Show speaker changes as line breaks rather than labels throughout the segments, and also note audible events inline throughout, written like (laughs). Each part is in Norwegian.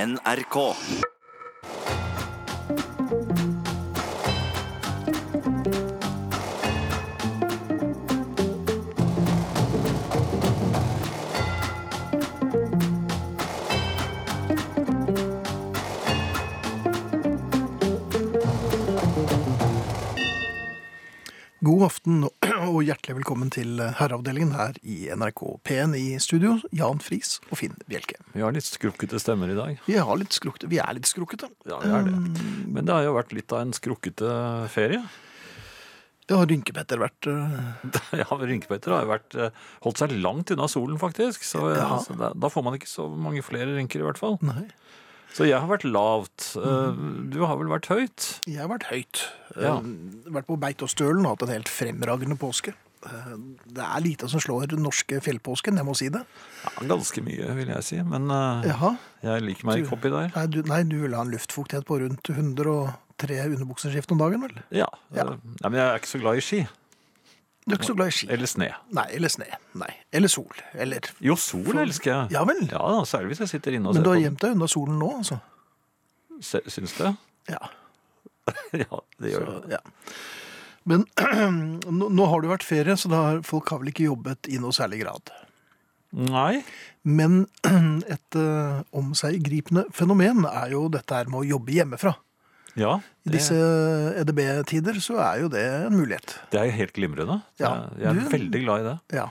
NRK.
God aften og (clears throat) hjertelig velkommen til eh, Herreavdelingen her i NRK P1 i studio. Jan Friis og Finn Bjelke.
Vi har litt skrukkete stemmer i dag.
Vi, har litt skrukket, vi er litt skrukkete. Um,
Ja, vi er det. Men det har jo vært litt av en skrukkete ferie. (laughs)
Det har Rynkepetter vært eh,
Ja, Rynkepetter har jo vært, eh, holdt seg langt unna solen, faktisk. Så eh,
Ja.
altså, da, da får man ikke så mange flere rynker, i hvert fall.
Nei.
Så jeg har vært lavt. Eh, Du har vel vært høyt?
Jeg har vært høyt.
Ja.
Eh, Vært på Beitostølen og hatt en helt fremragende påske. Eh, Det er lite som slår den norske fjellpåsken, jeg må si det.
Ja, ganske mye, vil jeg si. Men eh,
Jaha.
jeg liker meg ikke oppi der.
Nei, du, nei, du vil ha en luftfuktighet på rundt 103 underbukseskift om dagen, vel?
Ja.
Ja.
eh, Nei, men jeg er ikke så glad i ski.
Du er ikke så glad i ski.
Eller sne.
Nei, eller sne. Nei. Eller sol. Eller
Jo, sol elsker jeg.
Ja vel.
Ja, da, Særlig hvis jeg sitter inne Altså,
Men du
og ser
har
på.
gjemt deg unna solen nå, altså?
Se- Syns du? (laughs)
Ja.
ja, det gjør det.
Ja. Men (clears throat) nå, nå har det jo vært ferie, så da har, folk har vel ikke jobbet i noe særlig grad.
Nei.
Men (clears throat) et uh, om seg gripende fenomen er jo dette her med å jobbe hjemmefra.
Ja.
I disse EDB-tider så er jo det en mulighet.
Det er jo helt glimrende.
Ja,
Jeg, jeg er
du-
veldig glad i det.
Ja.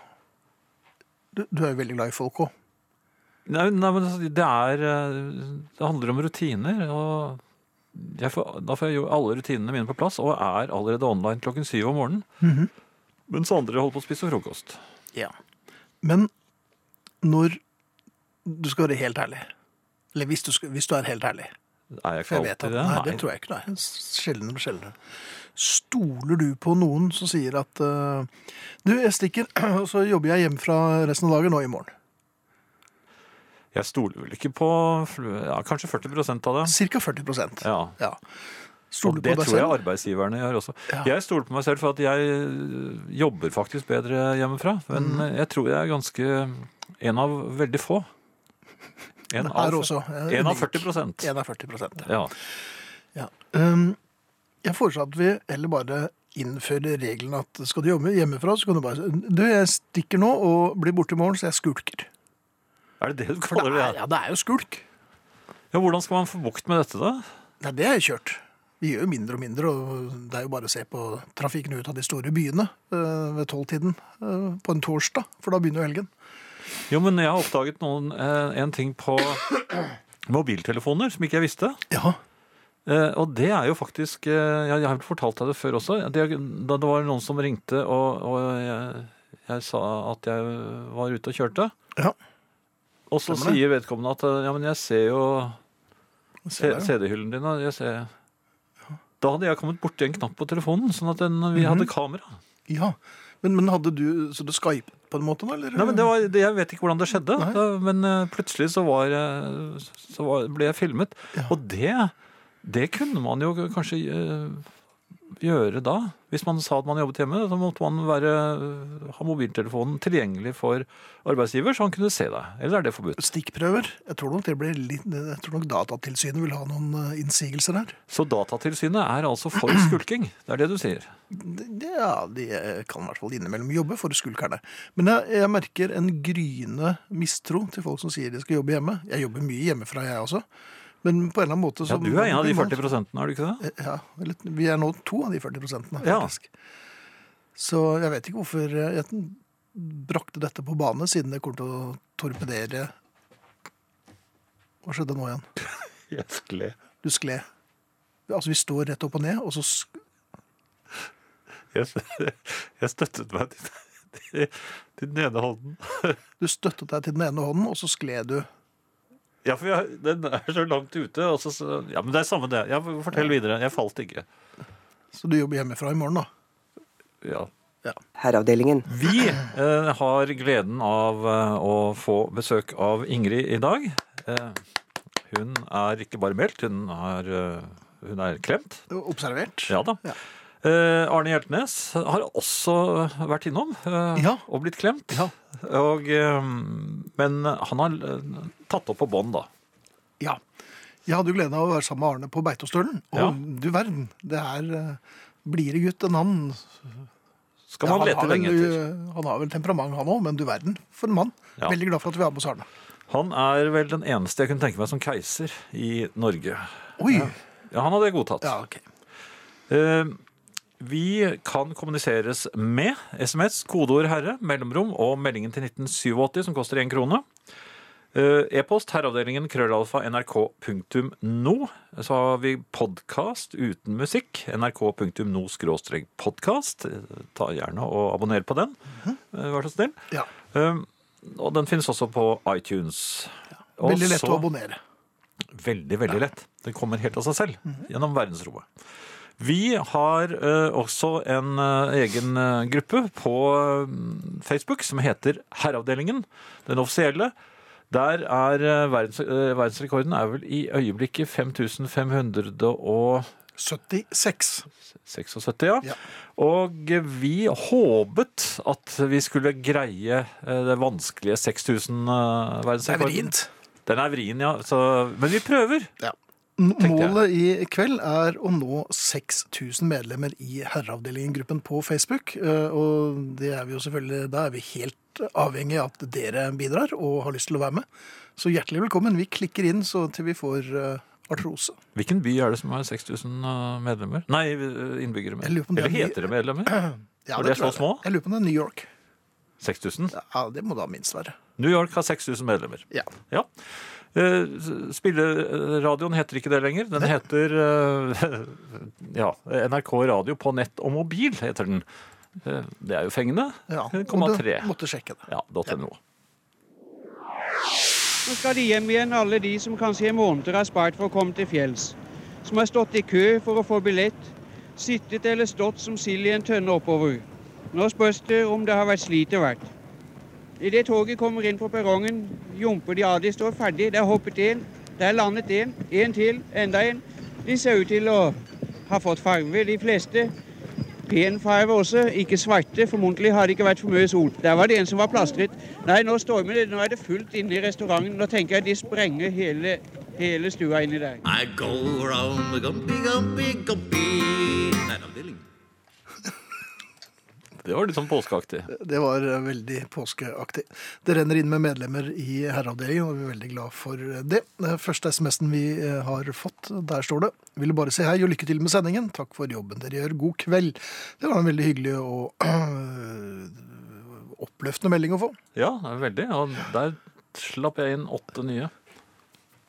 Du, du er jo veldig glad i folk òg.
Nei, nei, men altså, det er eh, Det handler om rutiner. og jeg får, Da får jeg jo alle rutinene mine på plass, og er allerede online klokken syv om morgenen.
Mhm.
Mens andre holder på å spise frokost.
Ja. Men når Du skal være helt ærlig. Eller hvis du, skal, hvis du er helt ærlig.
Er jeg ikke
For jeg vet at,
alltid det?
nei, det tror jeg ikke, nei. Sjeldnere og sjeldnere. Stoler du på noen som sier at eh, du, jeg stikker, (clears throat) og så jobber jeg hjemmefra resten av dagen og i morgen?
Jeg stoler vel ikke på ja, kanskje 40 av det.
Cirka 40
Ja.
Ja.
Og
Stoler du
det
på deg
tror jeg
selv?
arbeidsgiverne gjør også.
Ja.
Jeg stoler på meg selv for at jeg eh, jobber faktisk bedre hjemmefra. Men
Mm.
eh, jeg tror jeg er ganske En av veldig få. En
Her
av,
også. Jeg er
en av
unik.
40
En av 40
Ja.
ja. Um, Jeg foreslår at vi heller bare innfører regelen at skal du jobbe hjemmefra, så kan du bare si du, jeg stikker nå og blir borte i morgen, så jeg skulker.
Er det det du
For
kaller
det
det?
er, ja, det er jo skulk.
Ja, Hvordan skal man få bukt med dette, da?
Nei, det er jo kjørt. Vi gjør jo mindre og mindre, og det er jo bare å se på trafikken ut av de store byene eh, ved tolvtiden eh, på en torsdag, for da begynner jo helgen.
Jo, men Jeg har oppdaget noen, eh, en ting på mobiltelefoner som ikke jeg visste.
Ja.
Eh, og det er jo faktisk eh, Jeg jeg har vel fortalt deg det før også. Det, da det var noen som ringte, og, og jeg, jeg sa at jeg var ute og kjørte.
Ja.
Og så
Stemmer det.
sier vedkommende at eh, ja, men jeg ser jo
Se der, ja.
CD-hyllen din. og Jeg ser. Da hadde jeg kommet borti en knapp på telefonen, sånn at den,
Mhm.
vi hadde kamera.
ja. Men, men hadde du Så du skypet på en måte, da? Eller?
Nei, men det var, det, Jeg vet ikke hvordan det skjedde,
Nei.
da, men eh, plutselig så, var, eh, så var, ble jeg filmet.
Ja.
Og det, det kunne man jo kanskje eh, gjøre da. Hvis man sa at man jobbet hjemme, så måtte man være, eh, ha mobiltelefonen tilgjengelig for arbeidsgiver, så han kunne se deg. Eller er det forbudt?
Stikkprøver. Jeg tror nok, det blir litt, jeg tror nok Datatilsynet vil ha noen eh, innsigelser her.
Så Datatilsynet er altså (clears throat) for skulking. Det er det du sier.
Det- Ja, de eh, kan i hvert fall innimellom jobbe for skulkerne. Men jeg, jeg merker en gryende mistro til folk som sier de skal jobbe hjemme. Jeg jobber mye hjemmefra, jeg også. Men på en eller annen måte
Ja,
så
Du er en av de 40 prosentene, er du ikke det?
Eh, Ja, eller, vi er nå to av de 40 prosentene,
Ja.
faktisk. Så jeg vet ikke hvorfor eh, jeg brakte dette på bane, siden det kommer til å torpedere Hva skjedde nå igjen? Du skled. Altså, vi står rett opp og ned, og så sk-
(laughs) Jeg, støttet meg til, den ene hånden.
Du støttet deg til den ene hånden, og så skled du.
Ja, for jeg, den er så langt ute. Og så, så, ja, men det er samme det. Ja, fortell videre. Jeg falt ikke.
Så du jobber hjemmefra i morgen, da?
Ja.
Herreavdelingen.
Vi eh, har gleden av eh, å få besøk av Ingrid i dag. Eh, hun er ikke bare meldt, hun er, eh, hun er klemt.
Observert?
Ja da.
Ja.
Eh, Arne Hjeltnes har også vært innom eh,
Ja.
og blitt klemt.
Ja.
Og, eh, men han har eh, tatt opp på bånd, da.
Ja. Jeg hadde jo gleden av å være sammen med Arne på Beitostølen. Og
Ja.
du verden, det er eh, blidere gutt enn han. Ja,
Skal man
har
lete
vel,
lenge etter.
eh, Han har vel temperament han òg, men du verden, for en mann.
Ja.
Veldig glad for at vi har med oss Arne.
Han er vel den eneste jeg kunne tenke meg som keiser i Norge.
Oi!
Ja, han hadde jeg godtatt.
Ja, ok.
Eh, vi kan kommuniseres med SMS, kodeord 'herre', mellomrom og meldingen til 1987 som koster én krone. Eh, E-post herreavdelingen krøllalfa nrk.no. Så har vi podkast uten musikk. nrk.no skråstrek podkast. Ta gjerne og abonner på den,
Mhm.
eh, vær så snill.
Ja.
Eh, og den finnes også på iTunes. Og
Veldig lett
så-
å abonnere.
Veldig, veldig lett. Det kommer helt av seg selv
Mhm.
gjennom verdensrommet. Vi har eh, også en eh, egen eh, gruppe på eh, Facebook som heter Herreavdelingen, den offisielle. Der er eh, verdens, eh, verdensrekorden er vel i øyeblikket 5576,
76.
ja.
Ja.
Og eh, vi håpet at vi skulle greie eh, det vanskelige 6000
Det
eh,
er
verdensrekorden.
vrient.
Den er vrien, ja. Så, men vi prøver.
Ja.
tenkte jeg.
Målet i kveld er å nå 6000 medlemmer i herreavdelingen-gruppen på Facebook. eh, Og det er vi jo selvfølgelig, da er vi helt avhengig av at dere bidrar og har lyst til å være med. Så hjertelig velkommen. Vi klikker inn så til vi får eh, artrose.
Hvilken by er det som har 6000 medlemmer? Nei, eh, innbyggere.
Jeg lurer på om det er
Eller
ny-
heter det medlemmer?
Ja,
Og de er
tror
så
jeg
små?
Jeg lurer på om det er New York.
6000?
Ja, Det må da minst være.
New York har 6000 medlemmer.
Ja.
Ja. Eh, Spilleradioen heter ikke det lenger. Den heter eh, (laughs) ja, NRK Radio på nett og mobil, heter den. Eh, Det er jo fengende. Eh,
ja. Og
Komma
du
tre.
Måtte sjekke det.
Ja, .no.
Nå skal de hjem igjen, alle de som kanskje i måneder har spart for å komme til fjells. Som har stått i kø for å få billett, sittet eller stått som sild i en tønne oppover. Nå spørs det om det har vært slitet verdt. Idet toget kommer inn på perrongen, jumper de av. De står ferdig, det er hoppet en, det er landet en, en til, enda en. De ser ut til å ha fått farve, de fleste. Pen farve også, ikke svarte. Formodentlig har det ikke vært for mye sol. Der var det en som var plastret. Nei, nå stormer det. Nå er det fullt inne i restauranten. Nå tenker jeg de sprenger hele, hele stua inni der.
I go around the gumpy, gumpy, gumpy. Nei, da blir det lenge.
Det var litt sånn påskeaktig.
Det var eh, veldig påskeaktig. Det renner inn med medlemmer i herreavdelingen, og vi er veldig glad for det. Eh, Første SMS-en vi eh, har fått, der står det Ville bare si hei og lykke til med sendingen. Takk for jobben dere gjør. God kveld. Det var en veldig hyggelig og (clears throat) øh, oppløftende melding å få.
Ja, veldig. Og der slapp jeg inn åtte nye.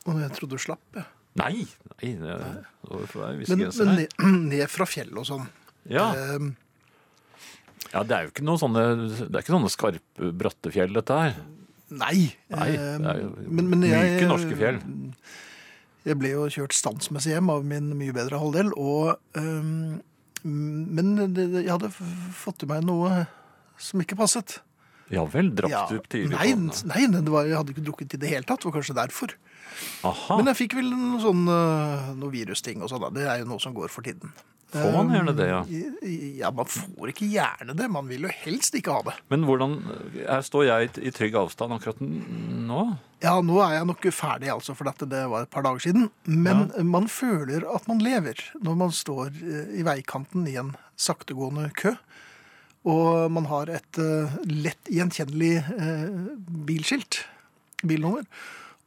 Og jeg trodde du slapp, jeg.
Nei! nei det var fra en viss
Men,
grense
men
der.
ned, ned (clears throat) fra fjellet og sånn.
Ja.
Eh,
Ja, det er jo ikke noen sånne, det er ikke sånne skarpe, bratte fjell, dette her.
Nei.
Nei, det
Eh,
er jo
men- men jeg-
myke norske fjell.
Jeg ble jo kjørt standsmessig hjem av min mye bedre halvdel, og ehm, Men det, det- jeg hadde f- fått i meg noe som ikke passet.
Ja vel, drakk
Ja.
du tidlig
Nei,
på den?
nei det var, jeg hadde ikke drukket i det hele tatt. Det var kanskje derfor.
Aha,
Men jeg fikk vel noe sånn eh, noe virusting og sånn. da. Det er jo noe som går for tiden.
får man
eh,
gjerne det, ja.
I- i- Ja, man får ikke gjerne det. Man vil jo helst ikke ha det.
Men hvordan her står jeg i trygg avstand akkurat n- nå?
Ja, nå er jeg nok ferdig, altså, for dette det var et par dager siden. Men man føler at man lever når man står eh, i veikanten i en saktegående kø. Og man har et eh, lett gjenkjennelig eh, bilskilt, bilnummer.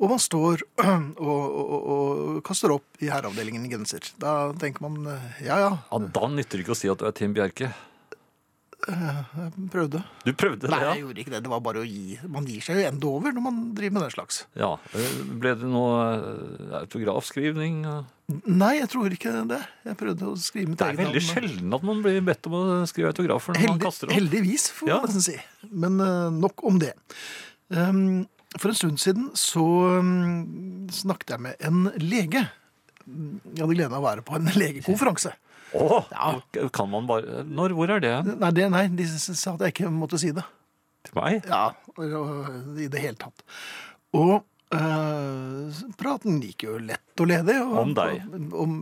Og man står (clears throat) og, og, og, og kaster opp i herreavdelingen i genser. Da tenker man eh, ja ja,
Ja, da nytter det ikke å si at du er Tim Bjerke.
jeg prøvde.
Du prøvde
Nei,
det,
jeg gjorde ikke det. Det var bare å gi. Man gir seg jo enda over når man driver med den slags.
ja? ja. eh, Ble det noe eh, autografskrivning?
Nei, jeg tror ikke det. Jeg prøvde å skrive mitt
Det er
eget
veldig
navn.
sjelden at man blir bedt om å skrive autografer når man
Heldig-
kaster opp.
Heldigvis, får
Ja.
man nesten si. Men eh, nok om det. Ehm, for en stund siden så ehm, snakket jeg med en lege. Jeg hadde gleden av å være på en (laughs) legekonferanse.
Å, kan man bare Når? Hvor er det?
Nei, det, nei de s- sa at jeg ikke måtte si det.
Til meg?
Ja, og- i det hele tatt. Og eh, praten gikk jo lett og ledig. Og,
Om deg?
Om,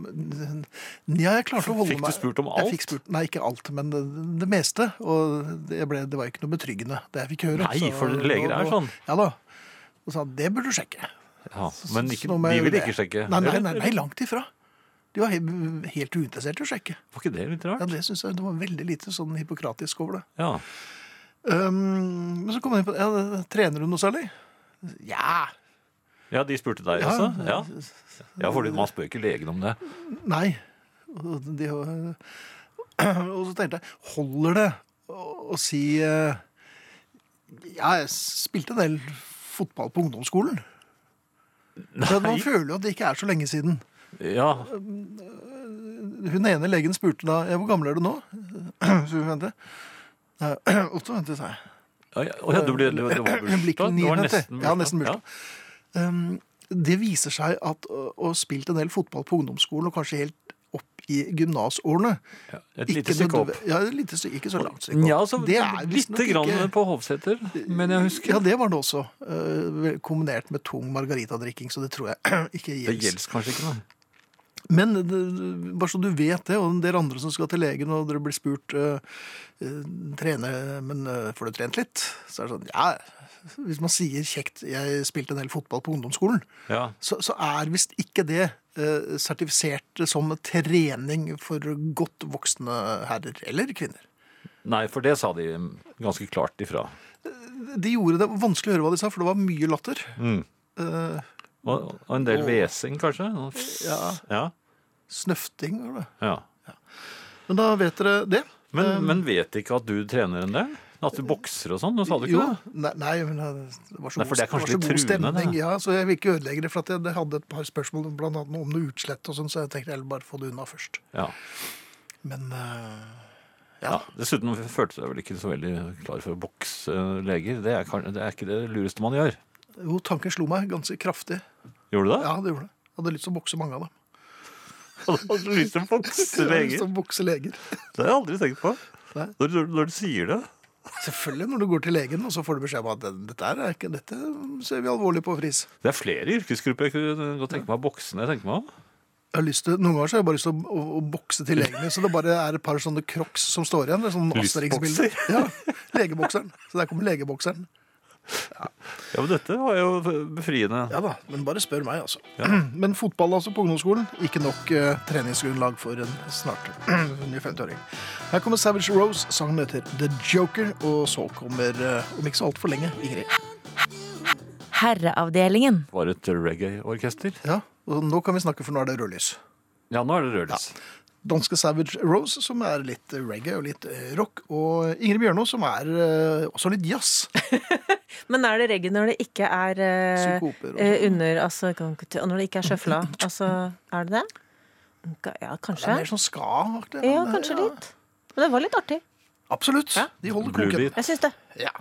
ja, jeg klarte å holde
Fikk du
meg
spurt om
Jeg
alt?
fikk spurt, nei, ikke alt, men det, det meste. Og det, ble, det var jo ikke noe betryggende, det jeg fikk høre.
Nei, for leger er
og- og-
sånn.
Ja da. Og sa det burde du sjekke.
Ja, men
Så- så
ikke,
nå må jeg
de
gjøre
vil
det.
ikke sjekke.
Nei, nei,
Eller?
nei, nei langt ifra. De var he- helt uinteressert i å sjekke.
Var ikke det litt
Ja,
rart?
Det synes jeg det var veldig lite sånn hippokratisk over det.
Ja.
Um, men så kom han inn på ja, det- Trener du noe særlig? Ja.
ja, de spurte deg også? Ja, ja fordi man spør ikke legen om det.
Nei. Og, de, (clears throat) og så tenkte jeg Holder det å, å si eh, Ja, jeg spilte en del fotball på ungdomsskolen. Men man føler jo at det ikke er så lenge siden.
Ja,
Hun ene legen spurte da ja, 'Hvor gammel er du nå?' (clears throat) Så hun vente. (clears throat) Nei, 98, sa jeg.
ja, ja, å ja du ble, det var det (laughs) var
Jeg blir ikke
bursdag? Det var
900,
nesten
ja, nesten bursdag.
bursdag.
Um, det viser seg at å å ha spilt en del fotball på ungdomsskolen, og kanskje helt opp i gymnasårene
Ja, et lite
ikke
stykke opp.
nødvendig- Ja, et lite stykke, ikke så langt stykke opp.
Ja, så
Det er
lite
visstnok
grann
ikke-
på Hovseter, men jeg husker.
Ja, det var det også. eh, kombinert med tung margaritadrikking, så det tror jeg (clears throat) ikke
Det
gjelder.
gjelder kanskje ikke, nei.
Men eh, det, bare så du vet det, og en del andre som skal til legen, og dere blir spurt uh, trene, men eh, får du trent litt? Så er det sånn, ja, hvis man sier kjekt, jeg spilte en del fotball på ungdomsskolen,
Ja.
så, så er visst ikke det eh, sertifisert som trening for godt voksne herrer eller kvinner.
Nei, for det sa de ganske klart ifra.
De gjorde det vanskelig å høre hva de sa, for det var mye latter.
Mm.
Eh,
Og, og en del hvesing, kanskje? Ja. ja.
snøfting, var det.
ja.
Men da vet dere det.
Men, men vet de ikke at du trener en del? At du bokser og sånn? Nå sa du ikke
Jo,
det?
Nei, nei, men eh, det var så
Nei, for
god, var
det er
så
kanskje litt
god
truende, det.
stemning. Ja, så jeg vil ikke ødelegge det, for at jeg jeg hadde et par spørsmål blant annet om noe utslett og sånn, så jeg tenkte jeg vil bare få det unna først.
Ja.
Men eh, ja.
ja. Dessuten følte jeg vel ikke så veldig klar for å bokse eh, leger. Det er, kan- det er ikke det lureste man gjør.
Jo, tanken slo meg ganske kraftig.
Gjorde du det? (laughs)
Ja, det gjorde det. Jeg hadde lyst til å bokse mange av dem.
Hadde du lyst til å
(laughs)
bokse
Jeg hadde lyst
leger?
til å bokse leger.
Det har jeg aldri tenkt på.
liksom- Nei.
Når, når, når du sier det.
Selvfølgelig når du går til legen, og så får du beskjed om at "Den- dette, her er ikke, dette ser vi alvorlig på, Friis.
Det er flere yrkesgrupper jeg kunne godt tenke meg å bokse når jeg tenker meg om.
Jeg har lyst til, noen ganger så har jeg bare lyst til å, å, å bokse til legen min, så det bare er et par sånne crocs som står igjen. det er Sånn
Lystbokser.
Asterix-bilder. Ja, legebokseren. Så der kommer legebokseren.
Ja, men dette var jo befriende.
Ja da, men bare spør meg, altså. (clears throat) Men fotball altså på ungdomsskolen, ikke nok eh, treningsgrunnlag for en snart (clears throat) under 50-åring. Her kommer Savage Rose, sangen heter The Joker, og så kommer, eh, om ikke så altfor lenge, Ingrid.
Herreavdelingen.
Var et reggae-orkester.
Ja, og nå kan vi snakke, for nå er det rødlys.
Ja, nå er det rødlys.
Danske Savage Rose, som er litt reggae og litt eh, rock, og Ingrid Bjørnå, som er eh, også litt jazz.
Men er det reggae når det ikke er eh,
Synkoper og sånn.
eh, under altså, kan ikke t- Når det ikke er sjøfla? Altså, er det det? Ka-
Det
Ja,
er
kanskje.
mer sånn ska-aktig.
Ja,
men,
kanskje
ja.
litt. Men det var litt artig.
Absolutt. De holder
Blue
koken.
Beat.
Jeg syns det.
Ja.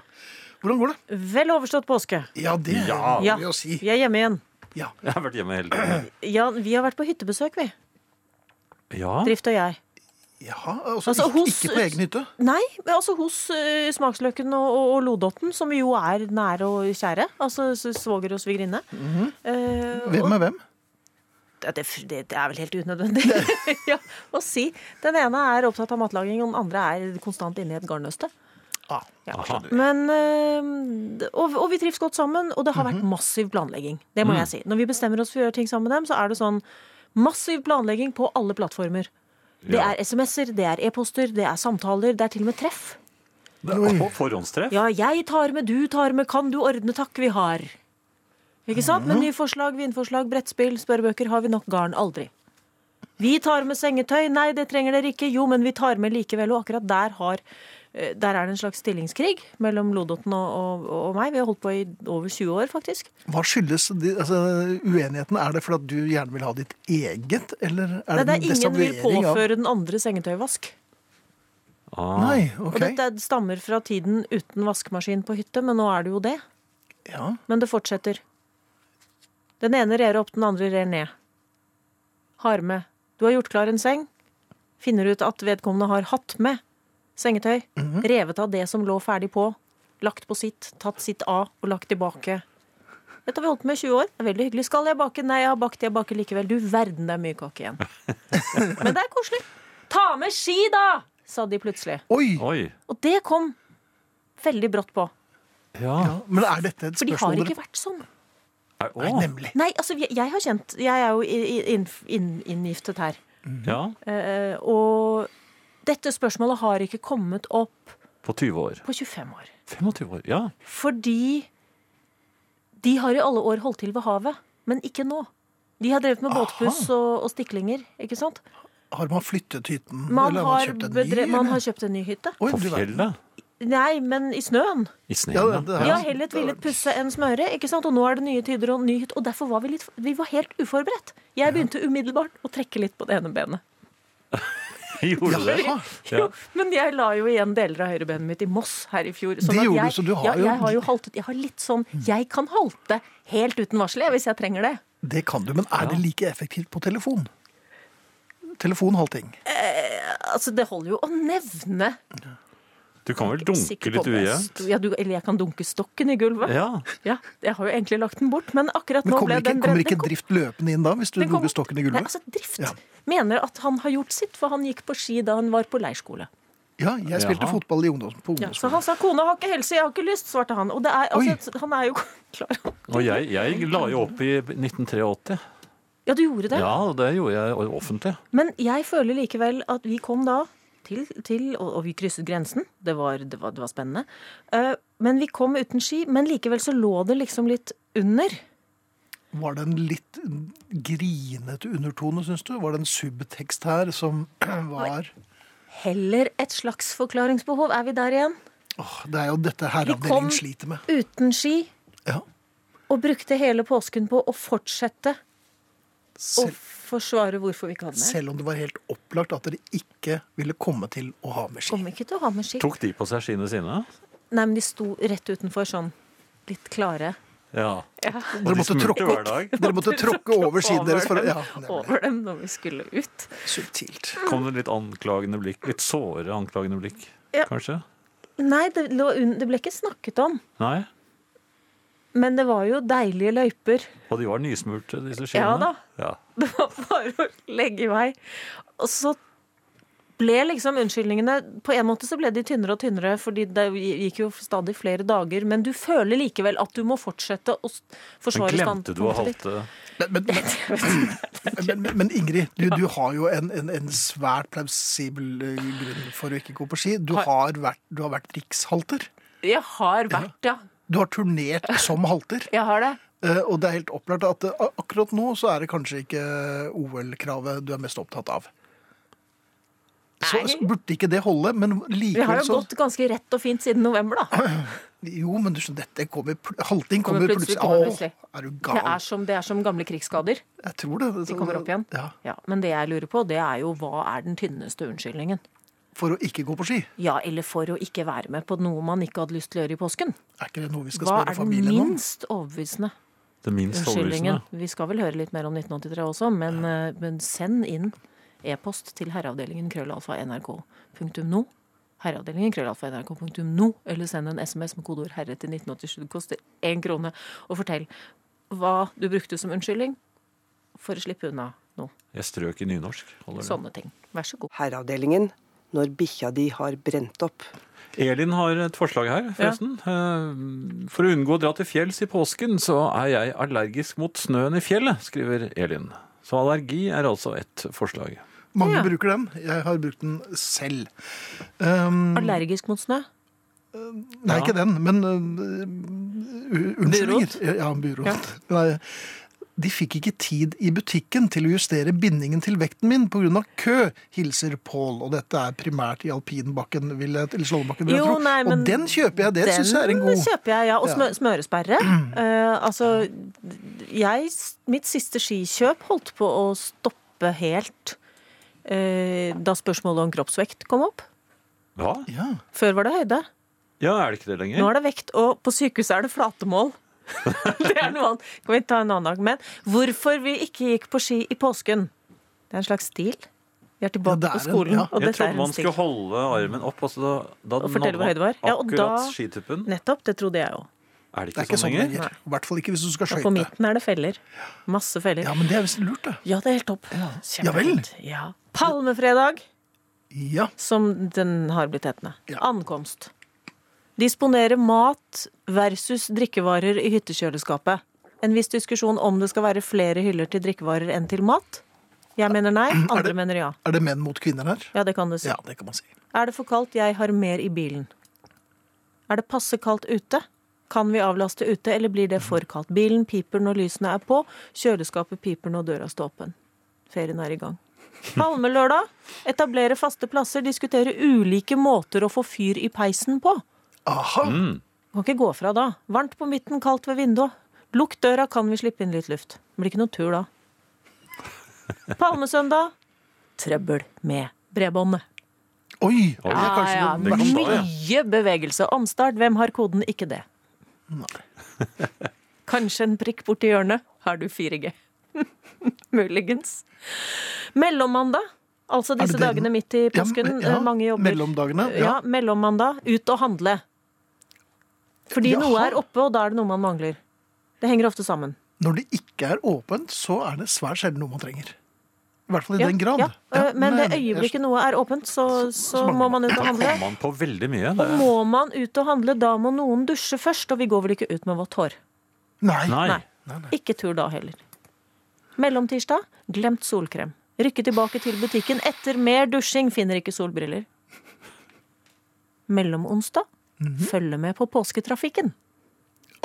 Hvordan går det?
Vel overstått påske.
Ja, det
Ja.
vil
Ja,
jeg si.
vi er hjemme igjen.
Ja.
Jeg har vært hjemme hele
(clears throat)
tiden.
Ja, vi har vært på hyttebesøk, vi.
Ja,
Drift og jeg.
Jaha, altså,
Altså,
ikke,
hos-
ikke på egen hytte?
Nei, men altså hos eh, Smaksløken og, og, og Lodotten, som jo er nære og kjære. Altså s- svoger og svigerinne. Eh,
Hvem er hvem?
Ja, det, det, det er vel helt unødvendig (laughs) ja, å si. Den ene er opptatt av matlaging, og den andre er konstant inne i et garnnøste.
Ah,
Ja.
Aha.
Men, øhm, og, og vi trives godt sammen, og det har vært massiv planlegging. Det må jeg si. Når vi bestemmer oss for å gjøre ting sammen med dem, så er det sånn massiv planlegging på alle plattformer. Det
Ja.
er SMS-er, det er e-poster, det er samtaler, det er til og med treff.
og forhåndstreff.
Ja, jeg tar med, du tar med, kan du ordne, takk, vi har. Ikke sant? Med nye forslag, vinforslag, brettspill, spørrebøker, har vi nok garn? Aldri. Vi tar med sengetøy, nei, det trenger dere ikke, jo, men vi tar med likevel, og akkurat der har eh, der er det en slags stillingskrig mellom Lodotten og, og, og meg. Vi har holdt på i over 20 år, faktisk.
Hva skyldes de, altså, uenigheten? Er det fordi at du gjerne vil ha ditt eget, eller er
Nei,
det
det er
en
ingen vil
desavuering av
påføre den andre sengetøyvask.
Ah.
Nei,
Og
OK.
dette stammer fra tiden uten vaskemaskin på hytte, men nå er det jo det.
Ja.
Men det fortsetter. Den ene rer opp, den andre rer ned. Har med. Du har gjort klar en seng. Finner ut at vedkommende har hatt med sengetøy. Revet av det som lå ferdig på. Lagt på sitt, tatt sitt av og lagt tilbake. Dette har vi holdt på med i 20 år. Det er veldig hyggelig. Skal jeg bake? Nei, jeg har bakt. Jeg baker likevel. Du verden, det er mye kake igjen. Men det er koselig. Ta med ski, da! sa de plutselig.
Oi!
Oi.
Og det kom veldig brått på.
Ja.
Ja, men er dette et
For de har
spørsmål
ikke
dere
vært sånn.
Er,
Nei,
å,
nemlig.
Nei, altså, jeg, jeg har kjent Jeg er jo i- i- innf- inn- inngiftet her.
ja,
Eh, og dette spørsmålet har ikke kommet opp
på 20 år.
på 25 år.
25 år, ja.
Fordi de har i alle år holdt til ved havet, men ikke nå. De har drevet med båtpuss og, og stiklinger, ikke sant?
Har man flyttet hytten?
Man
eller
har,
kjøpt en ny,
bedre, man
eller?
har kjøpt en ny hytte.
Oi,
På
du verden.
fjellet.
Nei, men i snøen.
I
Ja,
sneen.
det
Ja,
er-
De har hellet villet pusse enn smøre, ikke sant? Og nå er det nye tider og ny hytte. Og derfor var vi litt Vi var helt uforberedt. Jeg begynte umiddelbart å trekke litt på det ene benet.
(laughs) Gjorde du det?
Jaha.
Ja.
(laughs) Jo, men jeg la jo igjen deler av høyrebenet mitt i Moss her i fjor. sånn
Det
at
gjorde
jeg,
du, så du har
ja,
jo-
Jeg har jo haltet, jeg har litt sånn Jeg kan halte helt uten varsel jeg, hvis jeg trenger det.
Det kan du, men er det like effektivt på telefon? Telefonhalting.
Altså, det holder jo å nevne.
Du kan vel dunke
Sikker på
litt
om jeg
ujevnt?
sto- Ja, du, eller jeg kan dunke stokken i gulvet.
Ja.
Ja, Jeg har jo egentlig lagt den bort, men akkurat
Men
nå
kommer
ble
ikke,
den
kommer
bredden-
ikke
den kom-
drift løpende inn da, hvis du
den kom-
dunker stokken i
Nei,
gulvet?
altså, drift
Ja.
mener at han har gjort sitt, for han gikk på ski da han var på leirskole.
Ja, jeg spilte
Jaha.
fotball i ungdom, på
Ja, så
ungdomsskolen.
han sa 'kona har ikke helse, jeg har ikke lyst', svarte han. Og det er, altså, han er jo (laughs) klar.
Og jeg, jeg la jo opp i 1983.
Ja, du gjorde det.
Ja, og det gjorde jeg offentlig.
Men jeg føler likevel at vi kom da til, til og, og vi krysset grensen. Det var, det var, det var spennende. Eh, men vi kom uten ski. Men likevel så lå det liksom litt under.
Var det en litt grinete undertone, syns du? Var det en subtekst her som (clears throat) var
Heller et slags forklaringsbehov. Er vi der igjen?
Åh, Det er jo dette
kom-
herreavdelingen sliter med.
Uten ski.
Ja.
Og brukte hele påsken på å fortsette å
Sel,
forsvare hvorfor vi ikke hadde med.
selv om det var helt opplagt at dere ikke ville komme til å ha med ski.
Kom ikke til å ha med ski.
Tok de på seg skiene sine?
Nei, men de sto rett utenfor sånn litt klare.
Ja. Og
Dere måtte tråkke
hver dag.
Dere
(laughs)
måtte tråkke over siden
Over
deres for å
dem-
Ja,
(laughs)
nemlig.
Over dem når vi skulle ut.
Subtilt.
Kom det litt anklagende blikk? Litt såre anklagende blikk,
Ja.
kanskje?
Nei, det, lå un- det ble ikke snakket om.
Nei?
Men det var jo deilige løyper. (laughs)
Og de var nysmurte, disse skiene?
Ja da.
Ja.
Det var bare å legge i vei. Og så ble liksom unnskyldningene På en måte så ble de tynnere og tynnere, fordi det gikk jo stadig flere dager. Men du føler likevel at du må fortsette å s-
Men
forsvare
glemte du å
standpunktet ditt.
Men,
halte
(laughs)
men, men, men, men, men Ingrid, du, du har jo en, en, en svært plausibel eh, grunn for å ikke gå på ski. Du har vært, du har vært rikshalter.
Jeg har vært, ja.
Du har turnert som halter.
Jeg har det.
eh, Og det er helt opplagt at eh, akkurat nå så er det kanskje ikke OL-kravet du er mest opptatt av. Så,
Nei.
så burde ikke det holde, men
Vi har
likevel
jo
så
gått ganske rett og fint siden november, da.
Jo, men du skjønner, dette kommer pl- Halting
Kommer
kommer plutselig.
plutselig, kommer plutselig.
Åh, er du
Det er
gal?
som, det er som gamle krigsskader.
Jeg tror det.
De kommer opp igjen.
Ja,
Ja, men det jeg lurer på, det er jo hva er den tynneste unnskyldningen?
For å ikke gå på ski.
Ja, eller for å ikke være med på noe man ikke hadde lyst til å gjøre i påsken.
Er ikke det noe vi skal
Hva
spørre
er den
familien om?
minst overbevisende
det minst
unnskyldningen?
overbevisende?
Vi skal vel høre litt mer om 1983 også, men, eh, men send inn e-post til herreavdelingen krøllalfa nrk.no. Herreavdelingen krøllalfa nrk.no, eller send en SMS med kodeord 'herre' til 1987. Det koster én krone. Og fortell hva du brukte som unnskyldning for å slippe unna noe.
Jeg strøk i nynorsk. holder det?
Sånne ting. Vær så god.
herreavdelingen når bikkja di har brent opp.
Elin har et forslag her, forresten. Eh, For å unngå å dra til fjells i påsken, så er jeg allergisk mot snøen i fjellet, skriver Elin. Så allergi er altså et forslag.
Mange
Ja.
bruker den. Jeg har brukt den selv. Um,
Allergisk mot snø?
nei, ikke den, men uh, u- unnskyldninger. Ja, byråd. (laughs) Nei, De fikk ikke tid i butikken til å justere bindingen til vekten min pga. kø, hilser Pål. Og dette er primært i alpinbakken, vil jeg, eller Slånebakken, vil jeg
Jo,
tro.
nei, men
og den kjøper jeg, det syns jeg er en
Den
god
kjøper jeg, ja. Og
Ja.
smø
(clears throat)
smøresperre. Eh, altså, jeg Mitt siste skikjøp holdt på å stoppe helt eh, da spørsmålet om kroppsvekt kom opp.
Ja,
ja.
Før var det høyde.
ja er det ikke det lenger?
Nå er det vekt, og på sykehuset er det flatemål. (laughs) det er noe annet. Kan vi ta en annen dag. Men hvorfor vi ikke gikk på ski i påsken, det er en slags stil. Vi er
Ja,
tilbake
det er
på
en-
skolen,
ja.
og
Jeg
dette er
trodde
en
man
stil.
skulle holde armen opp, og så da, da
Og fortelle
nådde
hvor høy det
man
var. Ja, og
akkurat
da-
skituppen.
Nettopp, det trodde jeg òg.
Er det
Det
ikke,
er ikke
sånn lenger?
I hvert fall ikke hvis du skal
Og på
skøyte.
midten er det feller. Masse feller.
Ja, men det er visst lurt, det.
Ja, det er helt topp.
Ja vel.
Kjempefint. Ja. Palmefredag,
Ja.
som den har blitt hetende.
Ja.
Ankomst. Disponere mat versus drikkevarer i hyttekjøleskapet. En viss diskusjon om det skal være flere hyller til drikkevarer enn til mat. Jeg mener
(clears throat)
nei, andre
det-
mener ja.
Er det menn mot kvinner her?
Ja, det kan du si.
Ja, det kan man si.
Er det for kaldt? Jeg har mer i bilen. Er det passe kaldt ute? Kan vi avlaste ute, eller blir det for kaldt? Bilen piper når lysene er på, kjøleskapet piper når døra står åpen. Ferien er i gang. Palmelørdag. Etablere faste plasser, diskutere ulike måter å få fyr i peisen på.
Aha!
Kan ikke gå fra da. Varmt på midten, kaldt ved vinduet. Lukk døra, kan vi slippe inn litt luft. Det blir ikke noe tur da. Palmesøndag. Trøbbel med bredbåndet.
Oi! Det er
Ja,
kanskje
ja,
den
kan
verste.
ta, ja.
Mye bevegelse. Omstart, hvem har koden? Ikke det.
(laughs)
Kanskje en prikk borti hjørnet. Har du 4G? (laughs) Muligens. Mellommandag, altså
det
disse
den?
dagene midt i
Ja,
påsken.
ja,
eh, mange jobber.
mellomdagene, ja.
Ja, mellommandag. Ut og handle. Fordi
Jaha.
noe er oppe, og da er det noe man mangler. Det henger ofte sammen.
Når det ikke er åpent, så er det svært sjelden noe man trenger. I hvert fall i
Ja,
den grad.
ja.
Ja,
Eh, Men det
jeg- jeg-
øyeblikket noe er åpent, så, så
så
må
mangler
man ut og handle.
Kom man på veldig mye.
Og
Det.
må man ut og handle, da må noen dusje først, og vi går vel ikke ut med vårt hår.
Nei.
Nei.
Nei. Ikke tur da heller. Mellomtirsdag glemt solkrem. Rykke tilbake til butikken etter mer dusjing, finner ikke solbriller. Mellomonsdag følge med på påsketrafikken.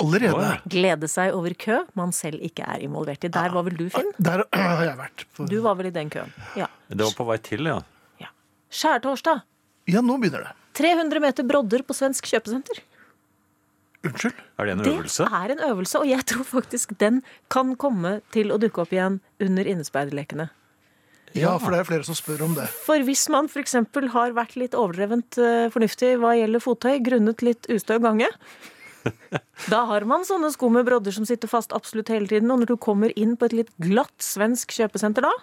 Allerede.
Glede seg over kø man selv ikke er involvert i. Der var vel du, Finn?
Der har jeg vært. på-
Du var vel i den køen. Ja.
det var på vei til, ja.
ja. Skjærtorsdag.
Ja, nå begynner det.
300 meter brodder på svensk kjøpesenter.
Unnskyld.
Er det en øvelse?
Det er en øvelse, og jeg tror faktisk den kan komme til å dukke opp igjen under innespeiderlekene.
Ja, for det er flere som spør om det.
For hvis man f.eks. har vært litt overdrevent eh, fornuftig hva gjelder fottøy, grunnet litt ustø
(laughs)
gange, da har man sånne sko med brodder som sitter fast absolutt hele tiden. Og når du kommer inn på et litt glatt svensk kjøpesenter da,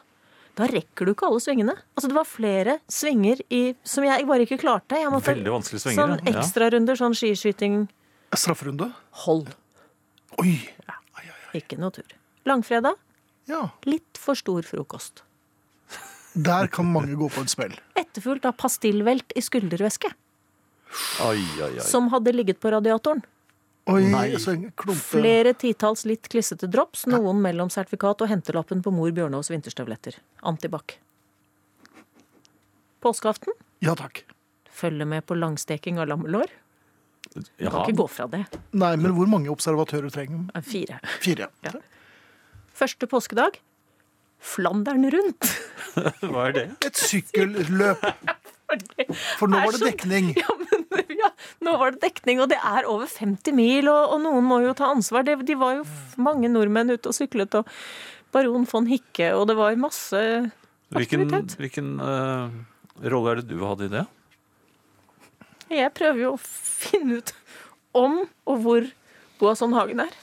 da rekker du ikke alle svingene. Altså Det var flere svinger i, som jeg bare ikke klarte. Jeg måtte
Veldig vanskelige svinger.
Sånn
ja. Ja.
ekstrarunder, sånn skiskyting,
Strafferunde?
hold.
Oi!
Ikke noe tur. Langfredag,
Ja.
litt for stor frokost.
Der kan mange gå på et smell.
Etterfulgt av pastillvelt i skuldervæske,
Ai, ai, ai.
som hadde ligget på radiatoren.
Oi, så en klumpe.
Flere titalls litt klissete drops, noen mellom sertifikat og hentelappen på mor Bjørnaas vinterstøvletter. Antibac. Påskeaften
Ja takk.
følger med på langsteking av lammelår. Du
Jaha.
kan ikke gå fra det.
Nei, men hvor mange observatører trenger man?
Eh, Fire.
Fire. Ja.
Første påskedag Flandern rundt.
Hva er det?
Et sykkelløp, for nå var det dekning.
(laughs) Ja, men ja, nå var det dekning, og det er over 50 mil, og, og noen må jo ta ansvar. Det, de var jo f- mange nordmenn ute og syklet, og baron von Hikke, og det var masse
Hvilken,
aktivitet.
hvilken eh, rolle er det du hadde i det?
Jeg prøver jo å finne ut om og hvor Boasson Hagen er.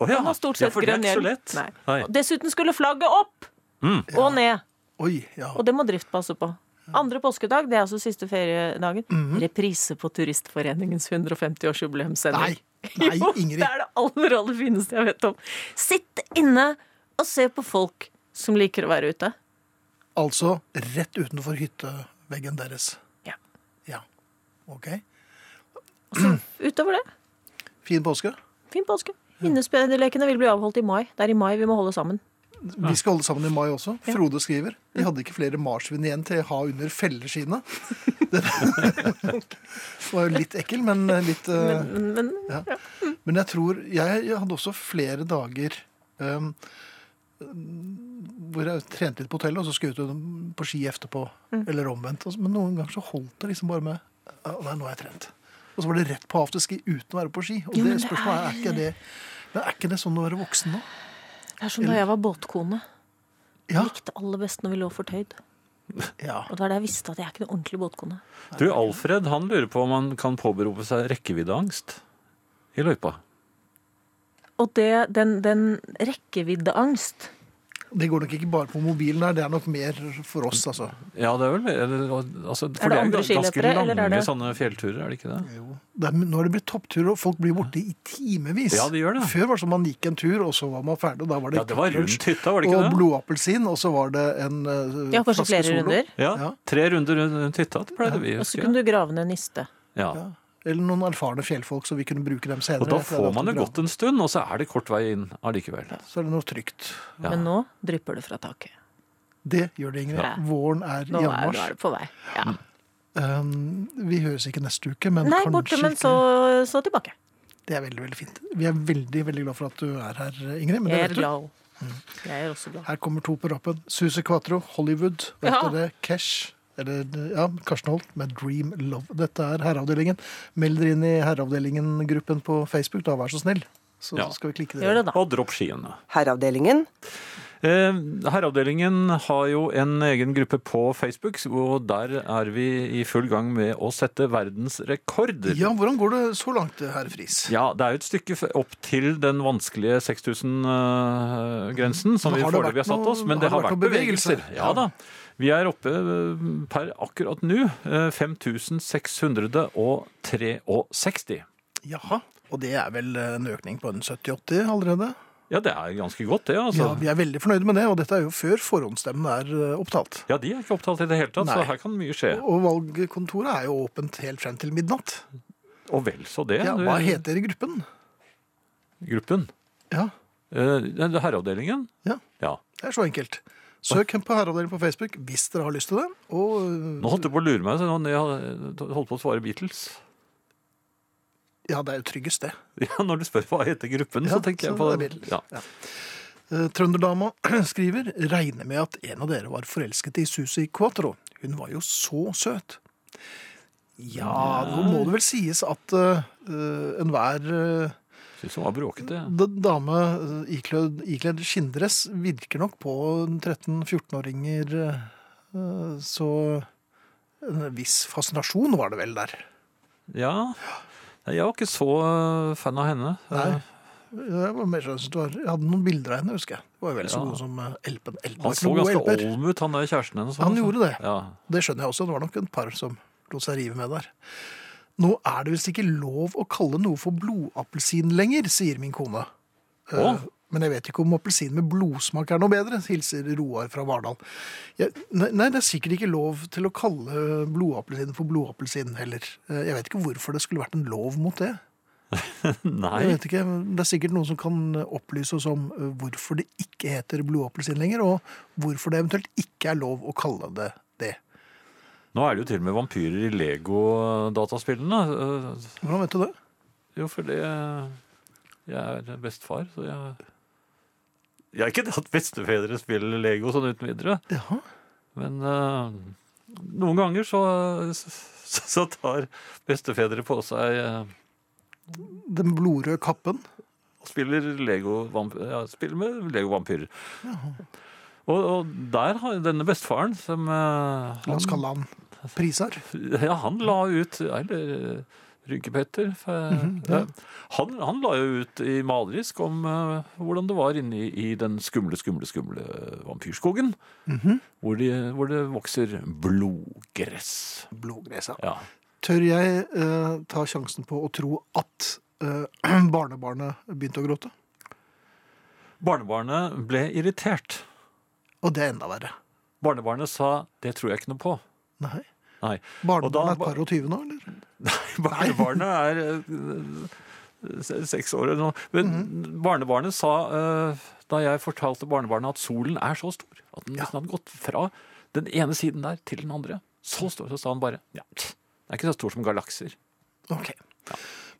Å ja.
Han har stort
ja,
sett
for det er
grønn
ikke så
hjelm.
lett.
Nei.
Nei. Mm.
Og Dessuten skulle flagget opp og ned,
Oi, ja.
og det må drift passe på. Andre påskedag, det er altså siste feriedagen, reprise på Turistforeningens 150-årsjubileumssending.
Nei, nei,
(laughs) Jo,
Ingrid.
Det er det aller, aller fineste jeg vet om. Sitt inne og se på folk som liker å være ute.
Altså rett utenfor hytteveggen deres.
Ja.
Ja. OK.
Utover det,
Fin påske.
fin påske. Innespeiderlekene vil bli avholdt i mai. Det er i mai vi må holde sammen.
Vi skal holde sammen i mai også. Frode skriver de hadde ikke flere marsvin igjen til ha under
(laughs)
felleskinnet. Det var jo litt ekkel, men litt eh,
Men, men
ja. Men jeg tror Jeg, jeg hadde også flere dager ehm, hvor jeg trente litt på hotellet, og så skulle jeg ut på ski etterpå.
Mm.
Eller omvendt. og så- Men noen ganger så holdt det liksom bare med «Å, Nei, nå har jeg trent. Og så var det rett på afterski uten å være på ski. Og
Jo, men
det
det
spørsmålet er, er
er-
ikke det men er ikke det sånn å være voksen nå?
det er som da jeg var båtkone.
Ja.
Likte aller best når vi lå fortøyd.
ja.
Og det var da jeg visste at jeg er ikke noe ordentlig båtkone.
Du, Alfred han lurer på om han kan påberope seg rekkeviddeangst i løypa.
Og det, den, den rekkeviddeangst
Det går nok ikke bare på mobilen her, det er nok mer for oss, altså.
Ja, det er vel eller, altså, For
det
det er jo
andre
ganske
skiløpere, eller
lange
er det-
sånne fjellturer, er det ikke det?
Det er, nå har det blitt toppturer, og folk blir borte i timevis.
Ja, de gjør det.
Før var det sånn man gikk en tur, og så var man ferdig. og Da var det,
Ja, det var rundt
lunsj.
hytta, var det ikke
og
det?
blodappelsin, og så var det en eh,
Ja, kanskje
flaske
flere
Solo.
runder.
Ja,
Ja.
Tre runder rundt hytta, det pleide vi å
Og så
huske.
kunne du grave ned niste.
Ja.
Eller noen erfarne fjellfolk, så vi kunne bruke dem senere.
Og da
etter
får
at
man det
bra.
godt en stund, og så er det kort vei inn allikevel.
Så er det noe trygt.
Ja.
Men nå drypper det fra taket.
Det gjør det, Ingrid.
Ja.
Våren er i
Nå er, nå
anmarsj.
er det på vei. Ja.
Um, vi høres ikke neste uke, men
Nei,
kanskje
borte, men
ikke-
så, så tilbake.
Det er veldig, veldig fint. Vi er veldig, veldig glad for at du er her, Ingrid. Men det
Jeg er
vet du. Mm.
glad. Jeg er også glad.
Her kommer to på rappen. Suze Quatro, Hollywood. Og
Ja.
etter det Cash, eller ja, Karsten Holt med Dream Love. Dette er Herreavdelingen. Meld dere inn i Herreavdelingen-gruppen på Facebook, da, vær så snill. Så
Ja.
skal vi klikke
Gjør
dere.
det, da.
Og dropp skiene.
Herreavdelingen.
Eh, Herreavdelingen har jo en egen gruppe på Facebook, og der er vi i full gang med å sette verdensrekorder.
Ja, hvordan går det så langt, herr Friis?
Ja, det er jo et stykke f- opp til den vanskelige 6000-grensen som
Men
vi
har det
foreløpig har
vært
satt oss,
noe-
men det har vært
noe bevegelse?
bevegelser. Ja da. Vi er oppe eh, per akkurat nå eh, 5663.
Jaha. Og det er vel en økning på en 70-80 allerede?
Ja, det er ganske godt, det, altså.
Ja, vi er veldig fornøyde med det, og dette er jo før forhåndsstemmene er eh, opptalt.
Ja, de er ikke opptalt i det hele tatt,
Nei.
så her kan mye skje.
Og valgkontoret er jo åpent helt frem til midnatt.
Og vel så det.
Ja,
du-
hva heter gruppen?
gruppen?
Ja,
Eh, det er Herreavdelingen?
Ja.
ja.
det er så enkelt. Søk på Herreavdelingen på Facebook hvis dere har lyst til det. Og eh,
Nå holdt du på å lure meg, så nå nå holdt jeg på å svare Beatles. (laughs)
Ja, det er jo tryggest det.
Ja, Når du spør hva heter gruppen,
Ja,
så tenker jeg
så
på
det er Beatles.
Ja.
Eh, Trønderdama (clears throat) skriver regner med at en av dere var forelsket i Susi Quatro. Hun var jo så søt. Ja, nå må det vel sies at eh, eh, enhver eh,
Syns hun var bråkete.
d- dame eh, iklødd, ikledd skinndress virker nok på 13-14-åringer eh, så en viss fascinasjon var det vel der.
Ja. Nei, Jeg var ikke så øh, fan av henne.
Nei. Jeg, var mer, sånn at det var- jeg hadde noen bilder av henne, husker jeg. Det var jo vel så
Ja.
god som eh, Elpen. Elpen var
Han
ikke
så
noen god
ganske
elper.
olm ut, han der kjæresten hennes. altså.
Han gjorde det.
Ja.
Det skjønner jeg også. Det var nok et par som lot seg rive med der. Nå er det visst ikke lov å kalle noe for blodappelsin lenger, sier min kone.
Å?
Eh, Men jeg vet ikke om appelsin med blodsmak er noe bedre, hilser Roar fra Vardal. Jeg, nei, nei, det er sikkert ikke lov til å kalle blodappelsin for blodappelsin heller. Eh, Jeg vet ikke hvorfor det skulle vært en lov mot det.
Nei.
Jeg vet ikke, men Det er sikkert noen som kan opplyse oss om eh, hvorfor det ikke heter blodappelsin lenger, og hvorfor det eventuelt ikke er lov å kalle det det.
Nå er det jo til og med vampyrer i Lego-dataspillene. øh,
Hvordan vet du det?
Jo, fordi øh, jeg er bestefar, så jeg Jeg er ikke (laughs) det at bestefedre spiller Lego sånn uten videre,
Jaha.
men øh, noen ganger så, så, så tar bestefedre på seg øh,
Den blodrøde kappen.
og spiller Lego ja, spiller med Lego-vampyrer. Og, og der har denne bestefaren som eh,
La oss
han,
kalle han Prisar.
ja, han la ut Eller eh, Rynkepetter. for-
Mhm,
ja. han, han la jo ut i malerisk om eh, hvordan det var inne i, i den skumle, skumle, skumle vampyrskogen.
Mhm.
hvor, de, hvor det vokser blodgress.
Blodgresa.
Ja.
Tør jeg eh, ta sjansen på å tro at eh, (clears throat) barnebarnet begynte å gråte?
Barnebarnet ble irritert.
Og det er enda verre.
Barnebarnet sa 'det tror jeg ikke noe på'.
Nei.
Nei. Og
Barnebarnet
da-
er et par og tyve nå, eller?
Barnebarnet er eh, se- seks år eller noe. Men
Mhm.
barnebarnet sa, eh, da jeg fortalte barnebarnet at solen er så stor, at den nesten hadde gått fra den ene siden der til den andre, så stor, så sa han bare, ja, den er ikke så stor som galakser.
Ok.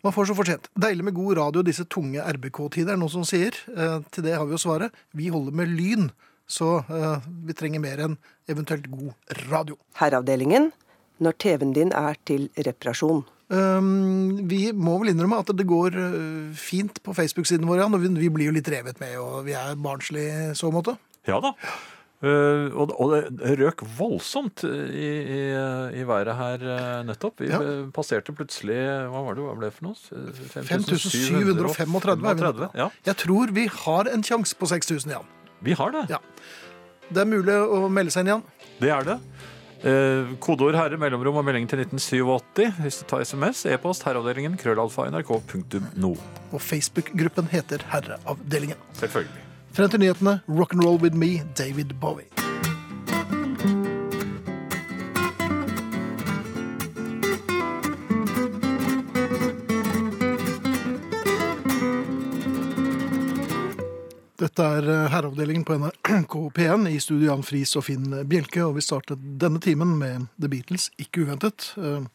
Man får så fortjent. Deilig med god radio disse tunge RBK-tider, er det noen som sier. Eh, til det har vi jo svaret. Vi holder med lyn, så eh, vi trenger mer enn eventuelt god radio.
Herreavdelingen. Når TV-en din er til reparasjon.
Um, vi må vel innrømme at det går øh, fint på Facebook-siden vår, Jan. Og vi, vi blir jo litt revet med, og vi er barnslige i så måte.
Ja da. Eh, og, og det røk voldsomt i, i, i været her eh, nettopp. Vi
Ja.
eh, passerte plutselig Hva var det hva ble det for noe?
5735 er vi nå.
5735, Ja,
Jeg tror vi har en sjanse på 6000, Jan.
vi har det.
Ja. Det er mulig å melde seg inn, Jan.
Det er det. Eh, kodeord herre, mellomrom og melding til 1987 hvis du tar SMS. E-post herreavdelingen krøllalfa nrk.no.
Og Facebook-gruppen heter Herreavdelingen.
Selvfølgelig.
Frem til nyhetene, rock'n'roll with me, David Bowie. Dette er eh, herreavdelingen på NRK P1 i studio Jan Friis og Finn Bjelke, og vi startet denne timen med The Beatles, ikke uventet. Eh,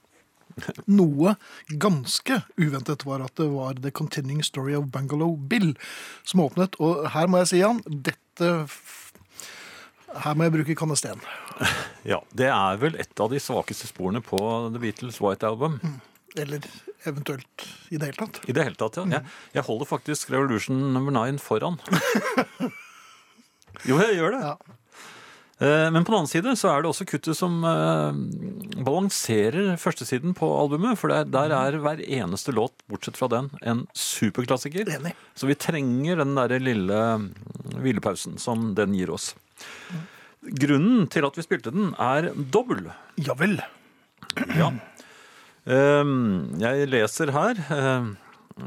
Noe ganske uventet var at det var The Continuing Story of Bungalow Bill som åpnet, og her må jeg si, Jan, dette f- Her må jeg bruke kannesten.
Ja, Det er vel et av de svakeste sporene på The Beatles' White Album.
Eller eventuelt i det hele tatt.
I det hele tatt, ja. Jeg, jeg holder faktisk Revolution number 9 (laughs) foran. jo, jeg gjør det.
Ja.
Eh, Men på den annen side så er det også kuttet som eh, balanserer førstesiden på albumet. For der, der er hver eneste låt, bortsett fra den, en superklassiker.
Enig.
Så vi trenger den derre lille mm, hvilepausen som den gir oss. Grunnen til at vi spilte den, er dobbel.
Ja vel.
Ja. Ehm, jeg leser her ehm,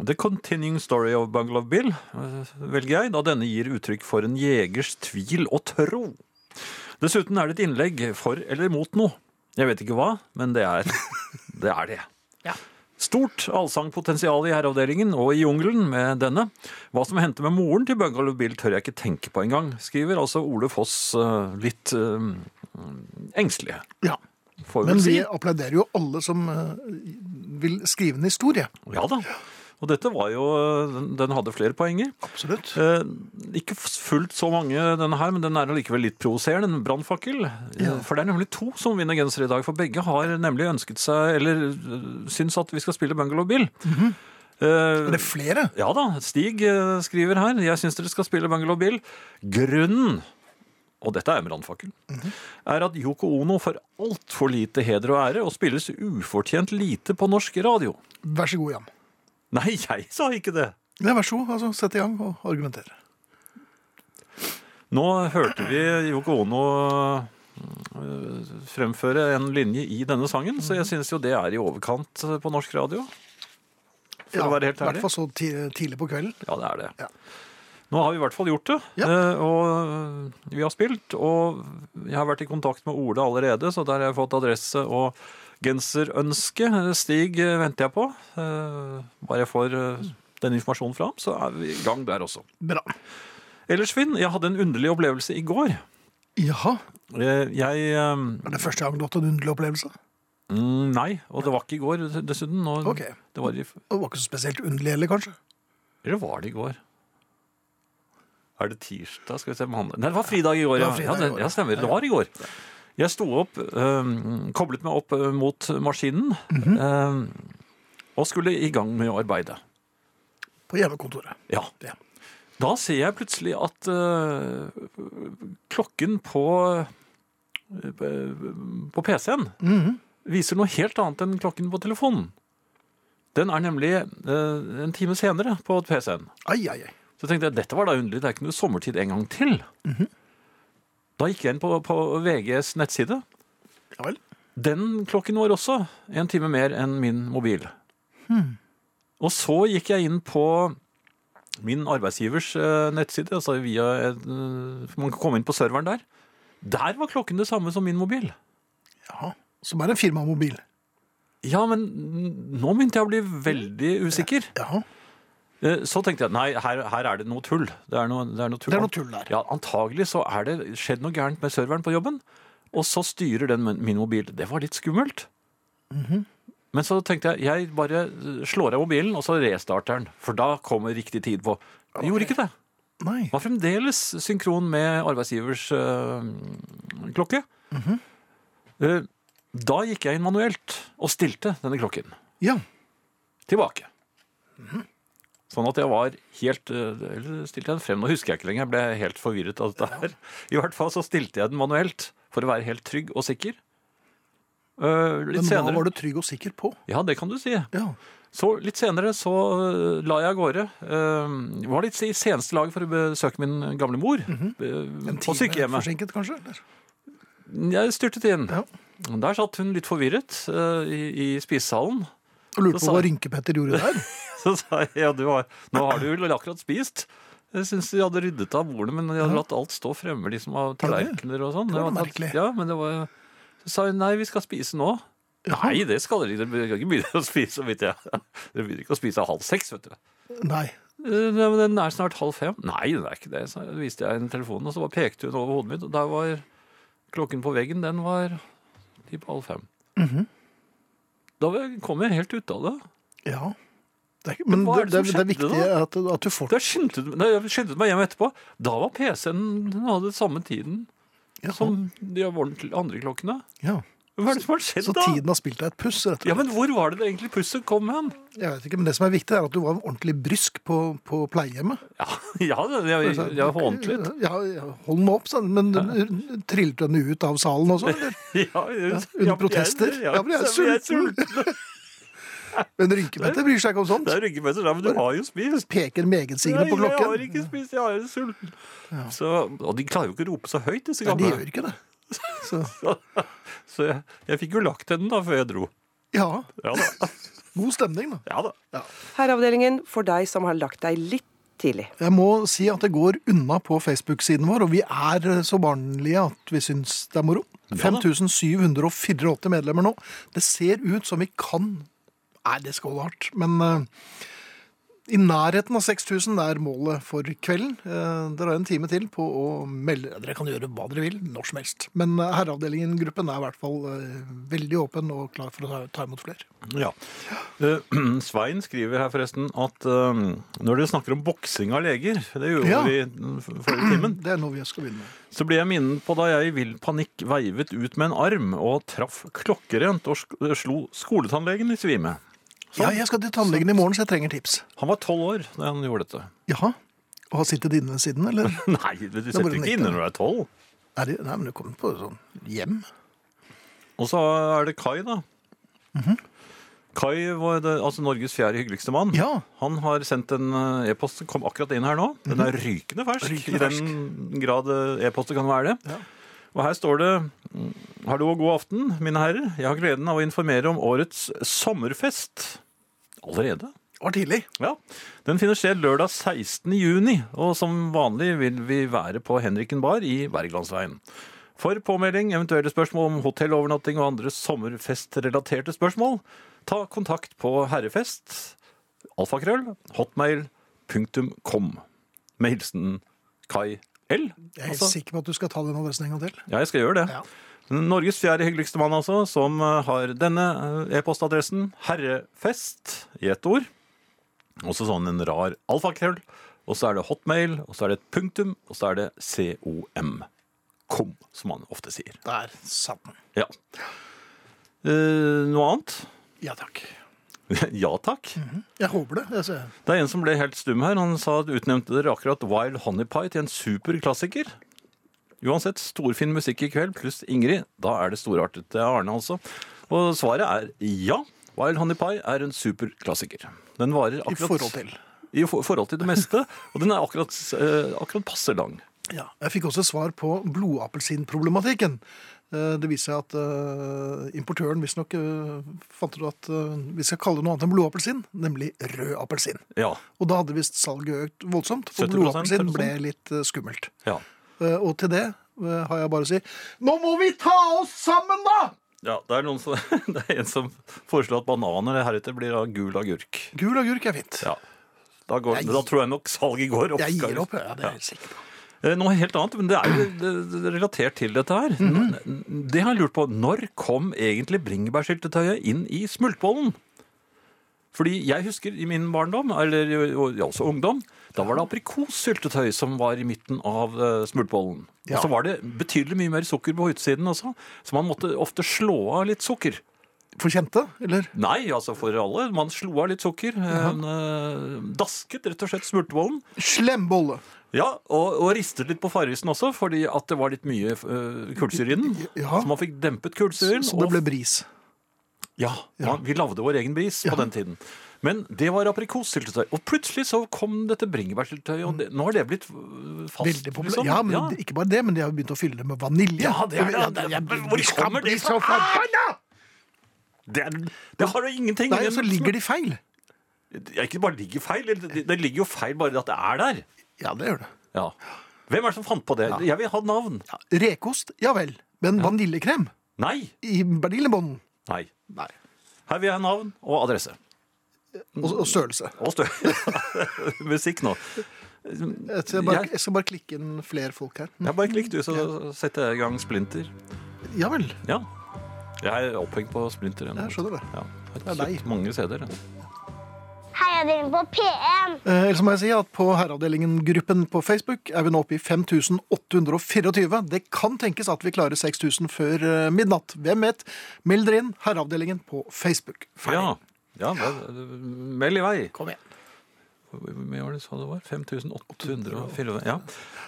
The Continuing Story of Bungalow Bill, eh, velger jeg, da denne gir uttrykk for en jegers tvil og tro. Dessuten er det et innlegg for eller mot noe. Jeg vet ikke hva, men det er (laughs) det. Er det. Stort allsangpotensial i herreavdelingen og i jungelen med denne. Hva som hendte med moren til Bungalow Bill tør jeg ikke tenke på engang, skriver altså Ole Foss eh, litt eh, engstelig.
Ja.
får vi
Men
vel si.
vi applauderer jo alle som eh, vil skrive en historie.
Ja da. Og dette var jo den- Den hadde flere poenger.
Absolutt.
Eh, ikke f- fullt så mange, denne her, men den er allikevel litt provoserende. En brannfakkel. Eh, For det er nemlig to som vinner genser i dag. For begge har nemlig ønsket seg, eller eh, syns at vi skal spille Bungalow Bill. Eh,
Mhm. Er det flere?
ja da, Stig eh, skriver her. Jeg syns dere skal spille Bungalow Bill. Grunnen, og dette er med brannfakkel,
Mhm.
er at Yoko Ono får altfor lite heder og ære og spilles ufortjent lite på norsk radio.
Vær så god, Jan.
Nei, jeg sa ikke det!
Nei, vær så god. Altså, sett i gang og argumenter.
Nå hørte vi Yoko Ono øh, fremføre en linje i denne sangen, så jeg syns jo det er i overkant øh, på norsk radio. For å være helt
I
ærlig.
hvert fall så ti tidlig på kvelden.
Ja, det er det.
Ja.
Nå har vi i hvert fall gjort det,
Ja.
eh, og vi har spilt. Og jeg har vært i kontakt med Ole allerede, så der har jeg fått adresse og genserønske. Stig eh, venter jeg på. Eh, Bare jeg får eh, den informasjonen fra ham, så er vi i gang der også.
Bra.
Ellers, Finn, jeg hadde en underlig opplevelse i går.
Jaha.
Eh, Jeg eh,
Er det første gang du har hatt en underlig opplevelse?
Mm, nei, og det var ikke i går dessuten. Og
Ok.
det var i,
Det var ikke så spesielt underlig heller, kanskje?
eller var det i går? Er det tirsdag? Skal vi se om han... Nei, det var fridag i går.
Det
Ja,
var
ja,
fridag i
det,
går.
ja stemmer. Det var i går. Jeg sto opp, øhm, koblet meg opp øh, mot maskinen,
Mhm.
øhm, og skulle i gang med å arbeide.
På hjemmekontoret.
Ja.
Ja.
Da ser jeg plutselig at øh, klokken på, øh, på PC-en viser noe helt annet enn klokken på telefonen. Den er nemlig øh, en time senere på PC-en.
Ai, ai, ai.
Så tenkte jeg, dette var da underlig, det er ikke noe sommertid en gang til. Da gikk jeg inn på, på VGs nettside.
Ja vel.
Den klokken var også en time mer enn min mobil. Og så gikk jeg inn på min arbeidsgivers eh, nettside, altså via et, eh, man kan komme inn på serveren der. Der var klokken det samme som min mobil.
Jaha. Som er en firmamobil.
Ja, men nå begynte jeg å bli veldig usikker.
Jaha.
Eh, Så tenkte jeg nei, her, her er det noe tull. Det er noe, det er noe tull.
Det er noe tull der.
Ja, Antagelig så er det skjedd noe gærent med serveren på jobben, og så styrer den min- min mobil. Det var litt skummelt.
Mhm.
Men så tenkte jeg jeg bare eh, slår av mobilen, og så restarter den. For da kommer riktig tid på. Jeg gjorde ikke det.
Nei.
Var fremdeles synkron med arbeidsgivers eh, klokke.
Mhm.
Eh, da gikk jeg inn manuelt og stilte denne klokken
Ja.
tilbake. Sånn at jeg var helt eh, Eller stilte jeg den frem? Nå husker jeg ikke lenger. Jeg ble helt forvirret av dette her. I hvert fall så stilte jeg den manuelt for å være helt trygg og sikker. Eh, litt
Men hva
senere
var du trygg og sikker på?
Ja, det kan du si.
Ja.
Så litt senere så eh, la jeg av gårde. Eh, var litt i seneste lag for å besøke min gamle mor
Mhm.
eh,
En
på
time
sykehjemmet.
forsinket, kanskje? Eller?
Jeg styrtet inn.
Ja.
Der satt hun litt forvirret eh, i, i spisesalen.
Og lurte
Så
på hva
sa jeg-
Rynkepetter gjorde
(laughs)
der?
Så sa jeg, ja, du har, nå har du vel akkurat spist. Jeg syns de hadde ryddet av bordene, men de hadde latt alt stå fremme, liksom av tallerkener og sånn.
det var
Det var-
merkelig.
Ja, men det var Så sa hun, nei, vi skal spise nå. Nei, (laughs) det skal dere ikke. Dere kan ikke begynne å spise, vet jeg. Dere begynner ikke å spise av halv seks, vet du.
Nei.
Eh, ja, men Den er snart halv fem. Nei, det er ikke det. Så viste jeg henne telefonen, og så bare pekte hun over hodet mitt, og der var klokken på veggen, den var typ halv fem.
Mhm.
Da var jeg- kom jeg helt ut av det.
Ja. Det er, ikke- men
hva er
det,
det
det,
som
er
skjedde
viktig at, at du får
Da skyndte, nei, jeg skyndte meg hjem etterpå. Da var PC-en Den hadde samme tiden
ja,
som de ordentlig- andre klokkene.
ja.
Hva er det som har skjedd
Så
da?
tiden har spilt deg et puss, rett og slett.
Ja, men hvor var det det egentlig pusset kom hen?
Jeg vet ikke, men det som er viktig, er at du var ordentlig brysk på, på pleiehjemmet.
Ja, (laughs) ja det- jeg, jeg, jeg hånet litt.
Ja, ja, hold nå opp, sa han. Men trillet hun ut av salen også? Eller?
(laughs) Ja, ja,
under protester.
Ja,
Ja, men jeg er
så- jeg er sulten. (laughs)
Men rynkebettet bryr seg ikke om sånt.
Det er ryggebeter, ja, men du har jo spist.
Peker megensigende på
jeg har
klokken.
ikke spist, jeg er sulten. Så, og de klarer jo ikke å rope så høyt, disse
Nei, de gjør
gamle.
ikke det. Så,
Så jeg, jeg fikk jo lagt henne da, før jeg dro.
ja,
Ja da.
god stemning, da.
Ja da.
Herreavdelingen for deg som har lagt deg litt tidlig.
Jeg må si at det går unna på Facebook-siden vår, og vi er eh, så barnlige at vi syns det er moro. 5784 medlemmer nå. Det ser ut som vi kan Nei, det skal holde hardt, men eh, i nærheten av 6000 er målet for kvelden. Eh, dere har en time til på å melde Dere kan gjøre hva dere vil, når som helst. Men eh, Herreavdelingen-gruppen er i hvert fall eh, veldig åpen og klar for å ta, ta imot flere.
Ja. Eh, (clears throat) Svein skriver her forresten at eh, når dere snakker om boksing av leger, det gjorde
Ja.
vi mm, f- forrige timen,
Det er noe vi skal begynne med.
Så ble jeg minnet på da jeg i vill panikk veivet ut med en arm og traff klokkerent og sk- eh, slo skoletannlegen i svime.
Ja, jeg skal til tannlegen i morgen, så jeg trenger tips.
Han var tolv år da han gjorde dette.
Jaha. Og har sittet inne ved siden, (laughs) eller?
(laughs) Nei, du
bare
sitter
nekter.
ikke inne når du er tolv.
Nei, det- nei, men du kommer på sånn hjem.
Og så er det Kai, da. Mhm. Kai var det, altså Norges fjerde hyggeligste mann.
Ja.
Han har sendt en eh, e-post som kom akkurat inn her nå. Den er rykende fersk,
Mhm. Rykende
i den grad eh, e-poster kan være det.
Ja.
Og her står det mm, Hallo og god aften, mine herrer. Jeg har gleden av å informere om årets sommerfest. Allerede?
Var tidlig.
Ja. Den finner sted lørdag 16. juni, og som vanlig vil vi være på Henriken bar i Wergelandsveien. For påmelding, eventuelle spørsmål om hotellovernatting og andre sommerfestrelaterte spørsmål, ta kontakt på herrefest, alfakrøll, hotmail.com. Med hilsen Kai L.
Jeg er helt
altså.
sikker på at du skal ta den adressen en gang til.
Ja, jeg skal gjøre det.
Ja.
Norges fjerde hyggeligste mann, altså, som eh, har denne eh, e-postadressen herrefest i ett ord. Og så sånn en rar alfakrøll. Og så er det hotmail, og så er det et punktum, og så er det com. Kom, som man ofte sier.
Der satt den.
Ja. Eh, noe annet? (laughs)
Ja takk.
ja takk.
Jeg håper det. Jeg ser.
Det er en som ble helt stum her. Han sa at utnevnte dere akkurat Wild Honey Pie til en superklassiker. Uansett, storfin musikk i kveld, pluss Ingrid. Da er det storartet til Arne, altså. Og svaret er ja. Wild Honey Pie er en superklassiker. Den varer
I
akkurat
forhold til.
I for- forhold til det meste. Og den er akkurat, eh, akkurat passe lang.
Ja. Jeg fikk også svar på blodappelsinproblematikken. Eh, Det viser seg at eh, importøren visstnok eh, fant ut at eh, vi skal kalle det noe annet enn blodappelsin, nemlig rød appelsin.
Ja.
Og da hadde visst salget økt voldsomt, for
70%,
blodappelsin
eller
ble
sånn.
litt eh, skummelt.
Ja.
Eh, Og til det eh, har jeg bare å si Nå må vi ta oss sammen, da!
ja det, er noen som, (laughs) det er en som foreslår at bananer heretter blir av gul agurk.
Gul agurk er fint.
Ja. Da, går,
Jeg-
da tror jeg nok salget går opp.
Jeg
Kari.
gir opp. Ja, det er helt sikkert.
Eh, Noe helt annet, men det er jo det- det- det er relatert til dette her. N- Det har jeg lurt på. Når kom egentlig bringebærsyltetøyet inn i smultbollen? Fordi jeg husker i min barndom, eller jo- jo- ja, også ungdom, da var det aprikossyltetøy som var i midten av eh, smultbollen.
Ja.
Og så var det betydelig mye mer sukker på utsiden også, så man måtte ofte slå av litt sukker.
For kjente, eller?
Nei, altså for alle. Man slo av litt sukker. eh, eh, Dasket rett og slett smultbollen.
Slem bolle.
Ja, og, og ristet litt på farrisen også, fordi at det var litt mye øh, kullsyre i den.
Ja.
Så man fikk dempet kullsyren.
Så det ble
og,
bris.
ja, man- vi lagde vår egen bris på den tiden. Men det var aprikossyltetøy. Og plutselig så kom dette bringebærsyltetøyet, og det, nå har det blitt øh, fast.
Veldig populært. Ja, men det- Ikke bare det, men de har begynt å fylle det med vanilje.
Ja, det er det.
Ja, det- jeg-
Hvor
vi skal
kommer det
bli
fra? Ah!
så forbanna!
Det, er, det har jo ingenting
Nei, og så ligger de feil.
Det er ikke bare ligger feil, det, det ligger jo feil bare at det er der.
Ja, det gjør det.
Ja. Hvem er det som fant på det? Jeg vil ha navn.
Rekost, ja vel. Men vaniljekrem
Nei.
i Berlinebånden?
Nei.
Nei.
Her vil jeg ha navn og adresse.
Og, og størrelse.
Og stø- (laughs) Musikk nå.
Jeg skal, bare,
Jeg-
jeg skal bare klikke inn flere folk her.
Jeg bare klikk, du, så setter jeg i gang Splinter.
Ja vel.
Ja. Jeg er opphengt på Splinter. ennå.
Jeg skjønner det.
Ja. Jeg
Det
har
er deg.
kjøpt mange CD-er. jeg.
Heia dere på P1!
Eh, Ellers må jeg si at på Herreavdelingen-gruppen på Facebook er vi nå oppe i 5824. Det kan tenkes at vi klarer 6000 før eh, midnatt. Hvem vet? Meld dere inn Herreavdelingen på Facebook.
Ja. ja vel, meld i vei.
Kom igjen.
Hvor mye var det du sa det var? 5804? Ja.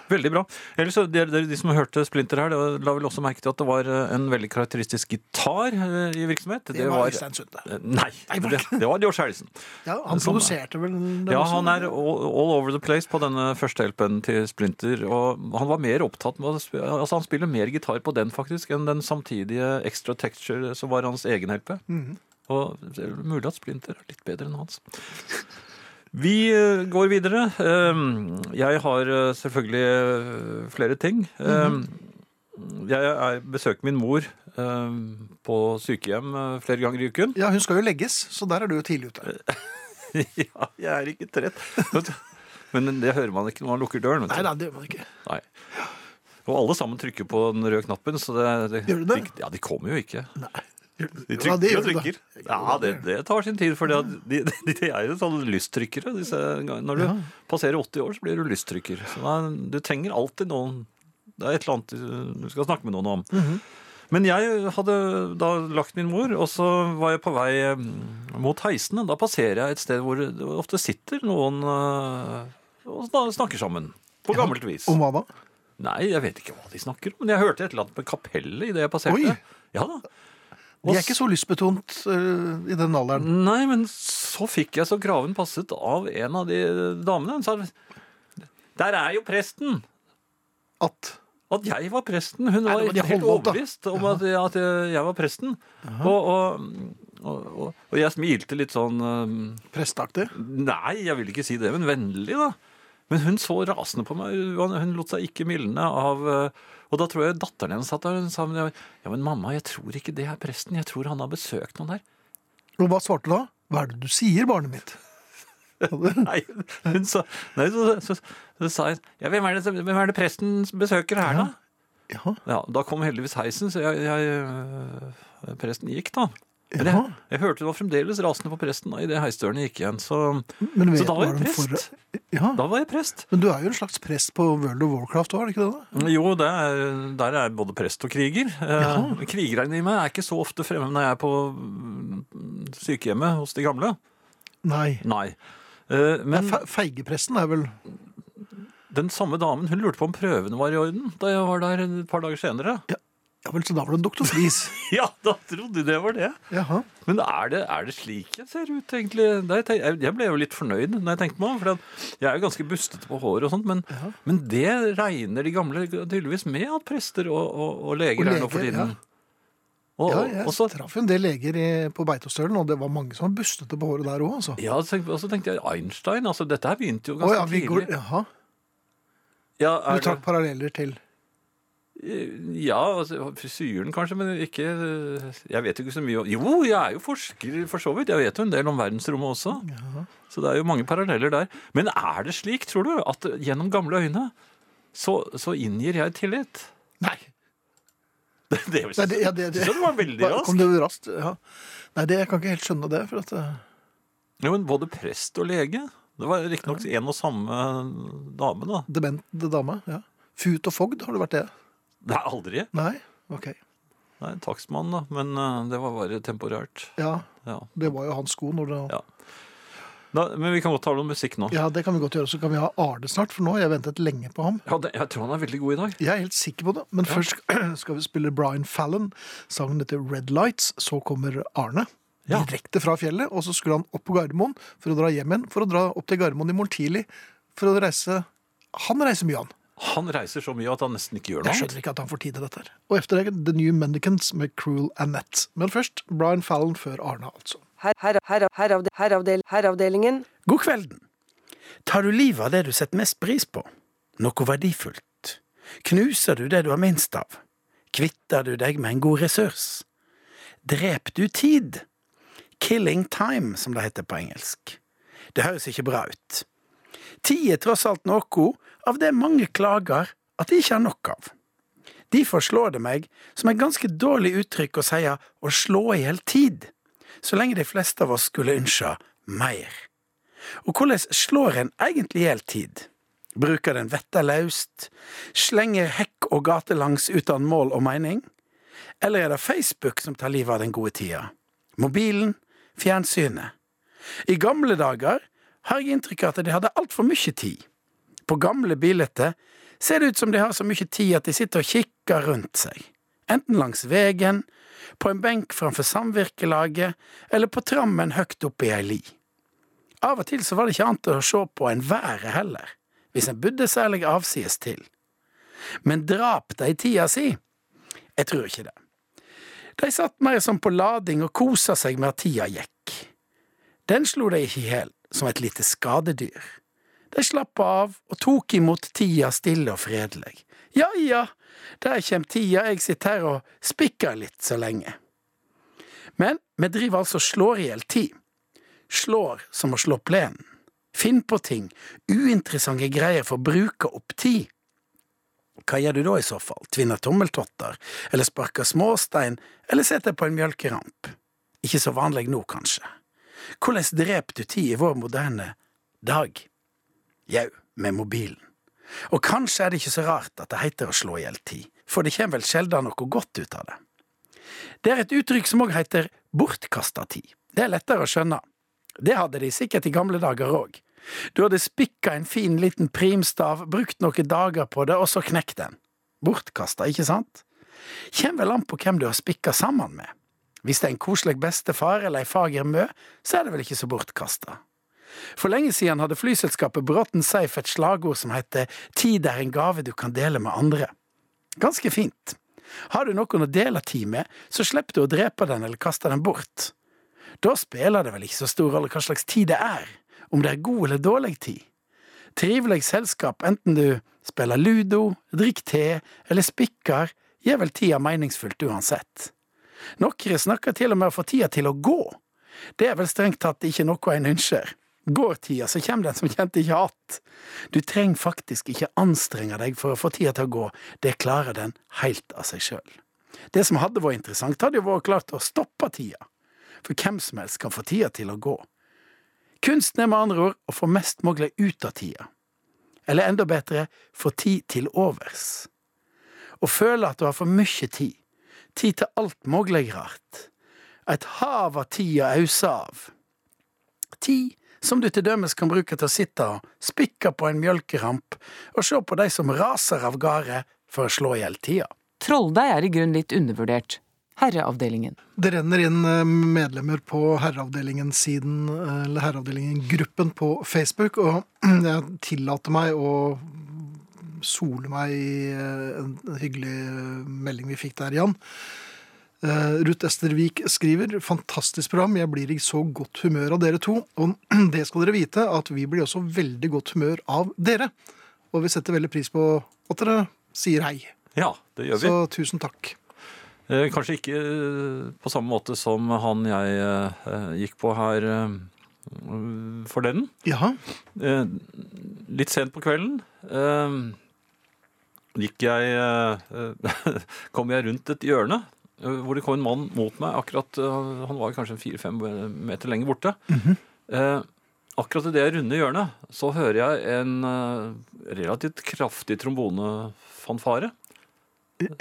Veldig bra. Ellers, så de, de, de som hørte Splinter her, det var- la vel også merke til at det var eh, en veldig karakteristisk gitar eh, i virksomhet.
Det var Øystein Sunde.
Eh, Nei,
Nei, var det
det,
ikke?
det var George Harrison.
Ja, han
Det samme.
produserte vel den
Ja,
også?
han er all, all over the place på denne førstehjelpen til Splinter. Og han var mer opptatt med å sp- Altså, han spiller mer gitar på den, faktisk, enn den samtidige Extra Texture som var hans egen LP. Og det er mulig at Splinter er litt bedre enn hans. Vi eh, går videre. Um, Jeg har eh, selvfølgelig eh, flere ting. Um, Jeg er- besøker min mor um, på sykehjem eh, flere ganger i uken.
Ja, hun skal jo legges, så der er du jo tidlig
Eh,
ute.
(laughs) Ja, jeg er ikke trett. (laughs) Men det hører man ikke når man lukker døren. vet du.
Nei, nei, det gjør man ikke.
Nei. Og alle sammen trykker på den røde knappen, så det, det,
Gjør de det?
De, ja, de kommer jo ikke. De
Ja, det
trykker
gjør
og
de da.
trykker. Ja, det, det tar sin tid, for de, de, de er jo sånne lysttrykkere. Disse, gangene. når du passerer 80 år, så blir du lysttrykker. Så da, du trenger alltid noen Det er et eller annet du skal snakke med noen om.
Mhm.
Men jeg hadde da lagt min mor, og så var jeg på vei eh, mot heisene. Da passerer jeg et sted hvor det ofte sitter noen eh, og sna- snakker sammen. På gammelt vis.
Om hva da?
Nei, jeg vet ikke hva de snakker om, men jeg hørte et eller annet med kapellet idet jeg passerte.
Oi!
Ja da.
De er ikke så lystbetont eh, i den alderen.
Nei, men så fikk jeg så graven passet av en av de damene. Hun sa Der er jo presten!
At
At jeg var presten. Hun
Nei,
var
nå må de
helt
holde opp, da.
overbevist om at, at jeg var presten. Og, og, og, og, og jeg smilte litt sånn um,
Prestaktig.
Nei, jeg vil ikke si det, men vennlig, da. Men hun så rasende på meg. Hun hun lot seg ikke mildne av eh, Og da tror jeg datteren hennes satt der og hun sa men jeg- Ja, men mamma, jeg tror ikke det er presten. Jeg tror han har besøkt noen her.
Og hva svarte du da? Hva er det du sier, barnet mitt?
(laughs) Nei, hun sa Nei, så, så, så, sa jeg Ja, hvem er, det, som- hvem er det presten besøker her, da?
Ja,
Ja, Da kom heldigvis heisen, så jeg, jeg eh, Presten gikk, da. Men
ja.
jeg, jeg hørte det var fremdeles rasende på presten idet heisdørene gikk igjen. Så,
Men
så
vet du
da var
hva
jeg
de
prest.
får- Ja.
Da var jeg prest.
Men du er jo en slags prest på World of Warcraft òg, er det ikke det? da?
Jo, det er, der er både prest og kriger. Eh, Krigeren i meg er ikke så ofte fremme når jeg er på mm, sykehjemmet hos de gamle.
Nei.
Nei. Eh,
Nei,
Men
fe feigepresten er vel
den samme damen hun lurte på om prøvene var i orden da jeg var der et par dager senere.
Ja vel, så da var det en doktor Friis.
(laughs) Ja, da trodde jeg det var det.
Jaha.
Men er det, er det slik jeg ser ut, egentlig? Nei, jeg tenk- jeg- jeg ble jo litt fornøyd når jeg tenkte meg om, for at jeg er jo ganske bustete på håret og sånt, men, men det regner de gamle tydeligvis med at prester og, og, og leger
Og
er nå for
leger,
tiden. Og,
Ja,
og
jeg
så,
traff jo en del leger i, på Beitostølen, og det var mange som var bustete på håret der òg, altså.
ja, så tenkte- og så tenkte jeg Einstein, altså dette her begynte jo
Å
ganske
ja, vi går
tidlig.
Jaha.
Ja,
Du
er
trakk paralleller til
det, ja altså, frisyren kanskje, men ikke Jeg vet jo ikke så mye om Jo, jeg er jo forsker for så vidt. Jeg vet jo en del om verdensrommet også. Så det er jo mange paralleller der. Men er det slik, tror du, at gjennom gamle øyne så, så inngir jeg tillit?
Nei.
(laughs) Det, det,
Nei, det, ja, det, det.
synes jeg var veldig
Hva-
raskt.
Kom det raskt? Ja. Nei, det, jeg kan ikke helt skjønne det. For at, eh,
Jo, men både prest og lege. Det var riktignok en og samme dame, da.
demente dame. Ja. Fut og fogd, har det vært det?
Det er aldri.
Nei? OK.
Nei, takstmann, da. Men eh, det var bare temporært.
Ja,
Ja.
det var jo hans sko når det
Ja. Da, men vi kan godt tale om musikk nå.
Ja, det kan vi godt gjøre. Så kan vi ha Arne snart, for nå har jeg ventet lenge på ham.
Ja, det, jeg tror han er veldig god i dag.
Jeg er helt sikker på det, men først (clears throat) skal vi spille Brian Fallon. Sangen heter Red Lights. Så kommer Arne
Ja.
direkte fra fjellet, og så skulle han opp på Gardermoen for å dra hjem igjen, for å dra opp til Gardermoen i morgen tidlig for å reise Han reiser mye, han.
Han reiser så mye at han nesten ikke gjør noe.
Jeg skjønner ikke at han får tid til dette. her. Og etter det The New Mendicants med Cruel Annette. Men først Brian Fallon før Arne, altså.
Her, her, her, heravde- heravdel- herreavdelingen.
God kvelden. Tar du livet av det du setter mest pris på? Noe verdifullt? Knuser du det du har minst av? Kvitter du deg med en god ressurs? Dreper du tid? Killing time, som det heter på engelsk. Det høres ikke bra ut. Tid er tross alt noe av det mange klager at de ikke har nok av. Derfor slår det meg som et ganske dårlig uttrykk å si å slå i hjel tid, så lenge de fleste av oss skulle ønske mer. Og hvordan slår en egentlig i hjel tid? Bruker den vettet løst? Slenger hekk og gatelangs uten mål og mening? Eller er det Facebook som tar livet av den gode tida? Mobilen? Fjernsynet? I gamle dager har jeg inntrykk av at de hadde altfor mye tid. På gamle bilder ser det ut som de har så mye tid at de sitter og kikker rundt seg. Enten langs veien, på en benk framfor samvirkelaget, eller på trammen høyt oppe i ei li. Av og til så var det ikke annet å se på enn været heller, hvis en bodde særlig avsides til. Men drap de tida si? Jeg tror ikke det. De satt mer som på lading og kosa seg med at tida gikk. Den slo de ikke i hjel, som et lite skadedyr. De slappa av og tok imot tida stille og fredelig. Ja ja, der kjem tida, jeg sitter her og spikker litt så lenge. Men vi driver altså og slår i hjel tid. Slår som å slå plenen. Finn på ting, uinteressante greier for å bruke opp tid. Hva gjør du da i så fall, tvinner tommeltotter, eller sparker småstein, eller setter på en mjølkeramp? Ikke så vanlig nå, kanskje. Hvordan dreper du tid i vår moderne dag? Jau, med mobilen. Og kanskje er det ikke så rart at det heter å slå i hjel tid, for det kommer vel sjelden noe godt ut av det. Det er et uttrykk som òg heter bortkasta tid. Det er lettere å skjønne. Det hadde de sikkert i gamle dager òg. Du hadde spikka en fin liten primstav, brukt noen dager på det, og så knekt den. Bortkasta, ikke sant? Kjem vel an på hvem du har spikka sammen med. Hvis det er en koselig bestefar eller ei fager mø, så er det vel ikke så bortkasta. For lenge siden hadde flyselskapet Bråten Seif et slagord som heter Tid er en gave du kan dele med andre. Ganske fint. Har du noen å dele tid med, så slipper du å drepe den eller kaste den bort. Da spiller det vel ikke så stor rolle hva slags tid det er, om det er god eller dårlig tid. Trivelig selskap, enten du spiller ludo, drikker te eller spikker, gir vel tida meningsfullt uansett. Noen snakker til og med om å få tida til å gå. Det er vel strengt tatt ikke noe en ønsker. Går tida, så kommer den som kjent ikke att. Du trenger faktisk ikke anstrenge deg for å få tida til å gå, det klarer den helt av seg sjøl. Det som hadde vært interessant, hadde jo vært klart å stoppe tida for hvem som helst kan få tida til å gå. Kunsten er med andre ord å få mest mulig ut av tida, eller enda bedre, få tid til overs. Å føle at du har for mye tid, tid til alt mulig rart, et hav av tid å ause av. Tid som du til dømes kan bruke til å sitte og spikke på en mjølkeramp og se på de som raser av gårde for å slå i hjel tida.
Trolldeig er i grunnen litt undervurdert. Herreavdelingen.
Det renner inn eh, medlemmer på herreavdelingen-siden, eh, eller herreavdelingen-gruppen på Facebook, og (clears throat) jeg tillater meg å sole meg i eh, en hyggelig eh, melding vi fikk der, Jan. Eh, Ruth Estervik skriver Fantastisk program, jeg blir i så godt humør av dere to. Og (clears throat) det skal dere vite, at vi blir også veldig godt humør av dere. Og vi setter veldig pris på at dere sier hei.
Ja, det gjør vi.
Så tusen takk.
Eh, Kanskje ikke eh, på samme måte som han jeg eh, gikk på her eh, forleden.
Ja,
Eh, Litt sent på kvelden eh, gikk jeg eh, (laughs) Kom jeg rundt et hjørne eh, hvor det kom en mann mot meg. Akkurat, eh, Han var kanskje en fire-fem meter lenger borte. Eh, Akkurat i det jeg runde hjørnet, så hører jeg en eh, relativt kraftig trombonefanfare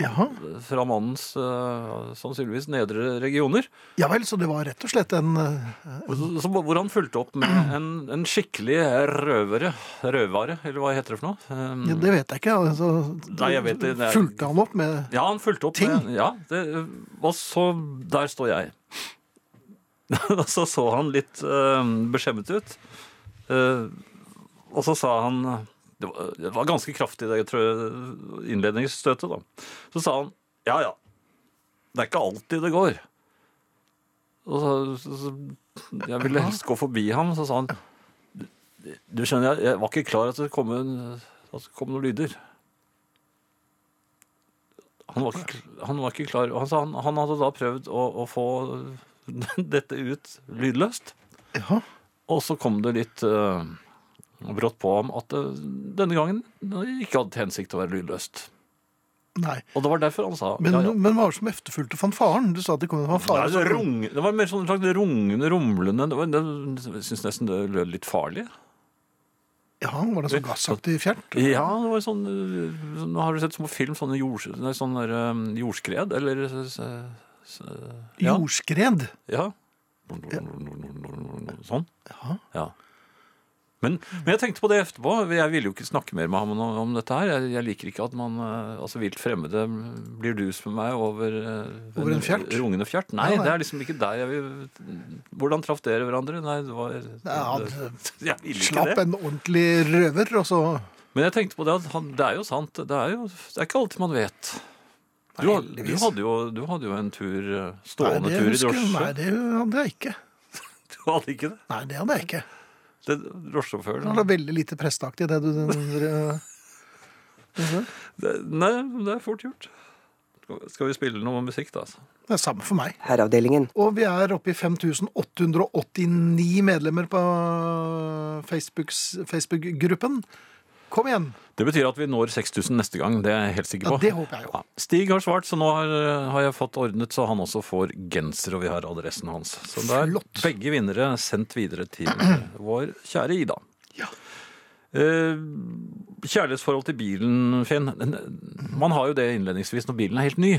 ja.
fra mannens eh, sannsynligvis nedre regioner.
ja vel, så det var rett og slett en eh,
Og så- så Hvor han fulgte opp med en, en skikkelig røvere, røvare, eller hva heter det for noe? Um,
Ja, det vet jeg ikke. Altså,
Nei, jeg vet det, det er-
Fulgte han opp med
ja, han fulgte opp
Ting.
med ja, det, Og så der står jeg. (laughs) og så så han litt eh, beskjemmet ut. Eh, og så sa han det var, det var ganske kraftig, det trø- innledningsstøtet, da. Så sa han ja, ja. Det er ikke alltid det går. Og så, så, så Jeg ville helst gå forbi ham, så sa han du, du skjønner, jeg, jeg var ikke klar at det kom, en, at det kom noen lyder. Han var, ikke, han var ikke klar. og Han, sa han, han hadde da prøvd å, å få (laughs) dette ut lydløst.
Ja.
Og så kom det litt eh, brått på ham at det denne gangen ikke hadde til hensikt å være lydløst.
Nei.
Og det var derfor han sa
Men,
ja, ja.
men hva var det som efterfulgte fanfaren? Du sa at det kom en
Nei,
fanfare.
det, rung, det var mer sånn en slags rungende, rumlende det var, det, Jeg syns nesten det lød litt farlig.
Ja, var det sånn gassaktig fjernt?
Ja, det var sånn øh, Nå har du sett små film, sånne jords, nei, sånn der, øhm, jordskred, eller s- s- s- ja.
Jordskred?
ja. Sånn.
Ja.
Ja. Men, men jeg tenkte på det etterpå. Jeg ville jo ikke snakke mer med ham om, om dette her. Jeg, jeg liker ikke at man øh, Altså, vilt fremmede blir dus med meg over øh,
Over en fjert?
Rungende fjert. Nei,
Ja, nei.
det er liksom ikke der jeg vil Hvordan traff dere hverandre? Nei, det var
Ja,
det- (laughs) Jeg ville ikke
Slapp
det.
en ordentlig røver, og så
Men jeg tenkte på det at han, det er jo sant. Det er jo det er ikke alltid man vet.
Nei,
Du, had- du,
heldigvis.
hadde, jo, du hadde jo en tur, eh,
Nei,
stående
det
tur i
husker-
drosje.
Nei, det hadde jeg ikke.
Du hadde ikke det?
Nei, det hadde jeg ikke.
det
Det
drosjesjåføren
var da veldig lite presteaktig, det du den, den-
Det- Nei, det er fort gjort. Skal- Skal vi spille noe musikk, da? Altså?
Det er samme for meg.
Herreavdelingen.
Og vi er oppe i 5889 medlemmer på Facebooks- Facebook-gruppen. Kom igjen!
Det betyr at vi når 6000 neste gang. Det er jeg helt sikker
Ja,
på.
det håper jeg jo.
Ja. Stig har svart, så nå har, har jeg fått ordnet så han også får genser, og vi har adressen hans. Så det er
Flott.
begge vinnere sendt videre
(clears throat)
til vår kjære Ida.
Ja.
Eh, kjærlighetsforhold til bilen, Finn. eh, Man har jo det innledningsvis når bilen er helt ny.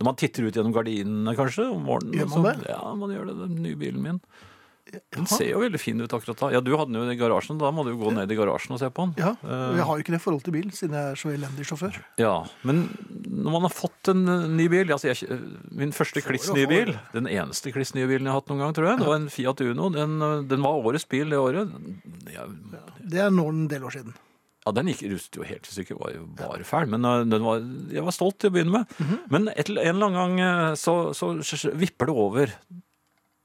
Når man titter ut gjennom gardinene kanskje om morgenen.
Gjør
og
man
så,
det?
ja, man gjør det. Den nye bilen min. Den ser jo veldig fin ut akkurat da. Ja, du hadde den jo i garasjen. Da må du jo gå ned i garasjen og se på den.
Ja,
Eh.
og Jeg har jo ikke det forholdet til bil, siden jeg er så elendig sjåfør.
Ja, men når man har fått en eh, ny bil altså jeg, eh, Min første kliss nye
får.
bil, den eneste kliss nye bilen jeg har hatt noen gang, tror jeg, det var en Fiat Uno. Den, eh, den var årets bil det året. Ja,
Det er nå en del år siden.
ja, den gikk rustet jo helt til stykket, var jo bare fæl, men eh, den var, jeg var stolt til å begynne med.
Mhm.
Men et, en eller annen gang eh, så, så s- s- vipper det over.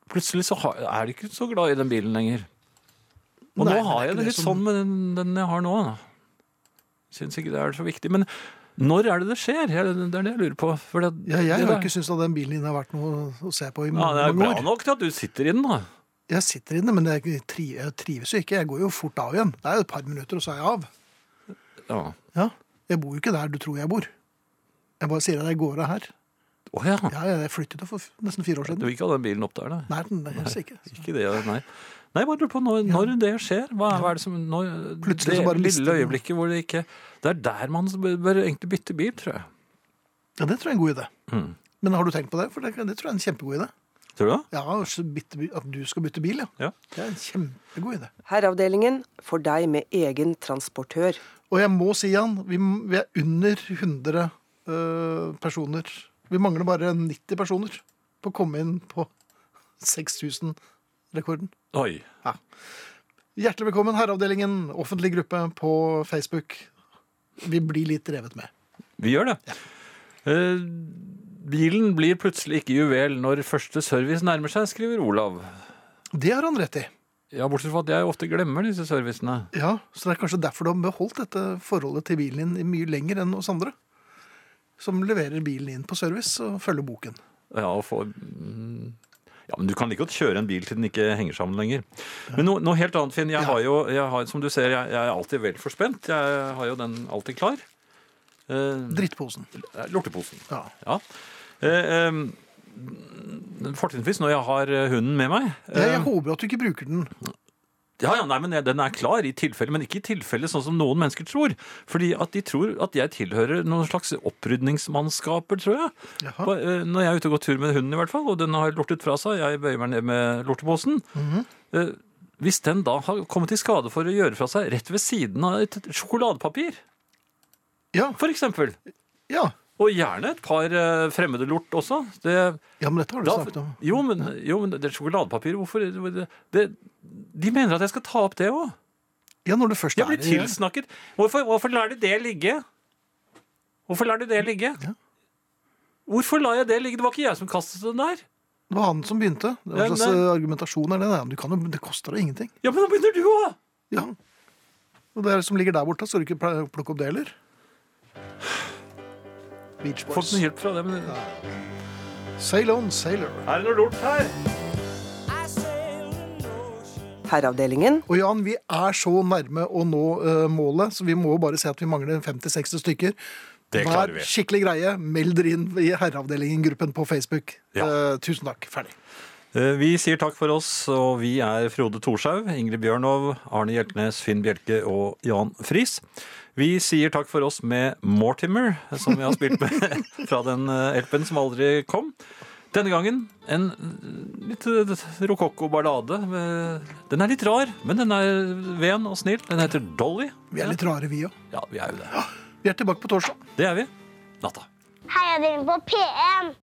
Plutselig så har, er jeg ikke så glad i den bilen lenger. Og
Nei, men
nå
det er ikke
har jeg det
det
litt
som-
sånn med den, den jeg har nå. da. Syns ikke det er så viktig. Men når er det det skjer? Jeg, det er det jeg lurer på. For det,
Ja, jeg
det
har
der-
ikke syntes at den bilen din har vært noe å se på i
ja, Det er
mange
bra
år.
nok til at du sitter i den, da.
Jeg sitter inne, men jeg tri- jeg trives jo ikke. Jeg går jo fort av igjen. Det er jo et par minutter, og så er jeg av.
Ja.
Ja, Jeg bor jo ikke der du tror jeg bor. Jeg bare sier at jeg går av her.
Å ja.
Ja, jeg flyttet jo for f- nesten fire år
Du
siden.
vil ikke ha den bilen opp der, da?
Nei, den er helst ikke.
Ikke det, nei. Nei, bare lurer på når, når det skjer. Hva er, hva er det som når,
Plutselig
Det
så bare mister
lille
den.
øyeblikket hvor det ikke Det er der man bør, bør egentlig bytte bil, tror jeg.
Ja, Det tror jeg er en god idé.
Mm.
Men har du tenkt på det? For det, det tror jeg er en kjempegod idé.
Tror du det?
Ja, så bytte, bi- At du skal bytte bil, ja.
Ja.
Det er en kjempegod idé.
Herreavdelingen for deg med egen transportør.
Og jeg må si, Jan, vi, m- vi er under 100 øh, personer. Vi mangler bare 90 personer på å komme inn på 6000-rekorden.
Oi.
Hjertelig velkommen, Herreavdelingen, offentlig gruppe på Facebook. Vi blir litt revet med.
Vi gjør det. Eh, bilen blir plutselig ikke juvel når første service nærmer seg, skriver Olav.
Det har han rett i.
Ja, Bortsett fra at jeg ofte glemmer disse servicene.
Ja, Så det er kanskje derfor du har beholdt dette forholdet til bilen din mye lenger enn oss andre. Som leverer bilen inn på service og følger boken.
Ja, og får mm, ja, men Du kan like godt kjøre en bil til den ikke henger sammen lenger. Men no, noe helt annet, Finn. Jeg har jo, jeg har, som du ser, jeg, jeg er alltid vel forspent. Jeg har jo den alltid klar. Eh,
Drittposen.
Eh, Lorteposen.
Ja.
Ja. Eh, em, Fortrinnsvis når jeg har eh, hunden med meg.
Jeg,
Eh,
jeg håper at du ikke bruker den.
ja, ja, nei, men jeg- Den er klar i tilfelle, men ikke i tilfelle sånn som noen mennesker tror. Fordi at de tror at jeg tilhører noen slags opprydningsmannskaper, tror jeg.
Jaha.
På- eh, Når jeg er ute og går tur med hunden i hvert fall, og den har lortet fra seg, jeg bøyer meg ned med lorteposen.
Mhm.
eh, Hvis den da har kommet i skade for å gjøre fra seg rett ved siden av et sjokoladepapir,
Ja,
for eksempel.
ja.
Og gjerne et par eh, fremmede lort også. Det,
ja, men dette har du
Da-
snakket om.
Jo, men, jo, men det er sjokoladepapir. Hvorfor det, det, De mener at jeg skal ta opp det òg.
Ja, når du først
Jeg
er
blir
i
tilsnakket. Hvorfor, hvorfor lar du det ligge? Hvorfor lar du det ligge?
Ja.
Hvorfor lar jeg det ligge? Det var ikke jeg som kastet den der.
Det var han som begynte. Det var
Ja,
en slags
nei.
eh, argumentasjon er det. Nei, men du kan jo, det koster deg ingenting.
Ja, men nå begynner du òg!
Ja. Og det som ligger der borte, skal du ikke pl- plukke opp det heller? Beach
Fått
Boys.
noe hjelp fra det, men
Sail on, sailor.
Er det noe lort her?
Herreavdelingen.
Og Jan, vi er så nærme å nå eh, målet, så vi må jo bare si at vi mangler 50-60 stykker.
Det klarer vi.
Vær skikkelig greie. Meld dere inn i Herreavdelingen-gruppen på Facebook.
Ja.
Eh, tusen takk. Ferdig.
Eh, Vi sier takk for oss, og vi er Frode Thorshaug, Ingrid Bjørnov, Arne Hjeltnes, Finn Bjelke og Jan Friis. Vi sier takk for oss med Mortimer, som vi har spilt med (laughs) fra den eh, LP-en som aldri kom. Denne gangen en eh, litt eh, rokokko-ballade. med- Den er litt rar, men den er ven og snill. Den heter Dolly.
Vi er litt rare, vi òg.
Ja, vi er jo det.
Vi er tilbake på torsdag.
Det er vi. Natta.
Heia dere på P1!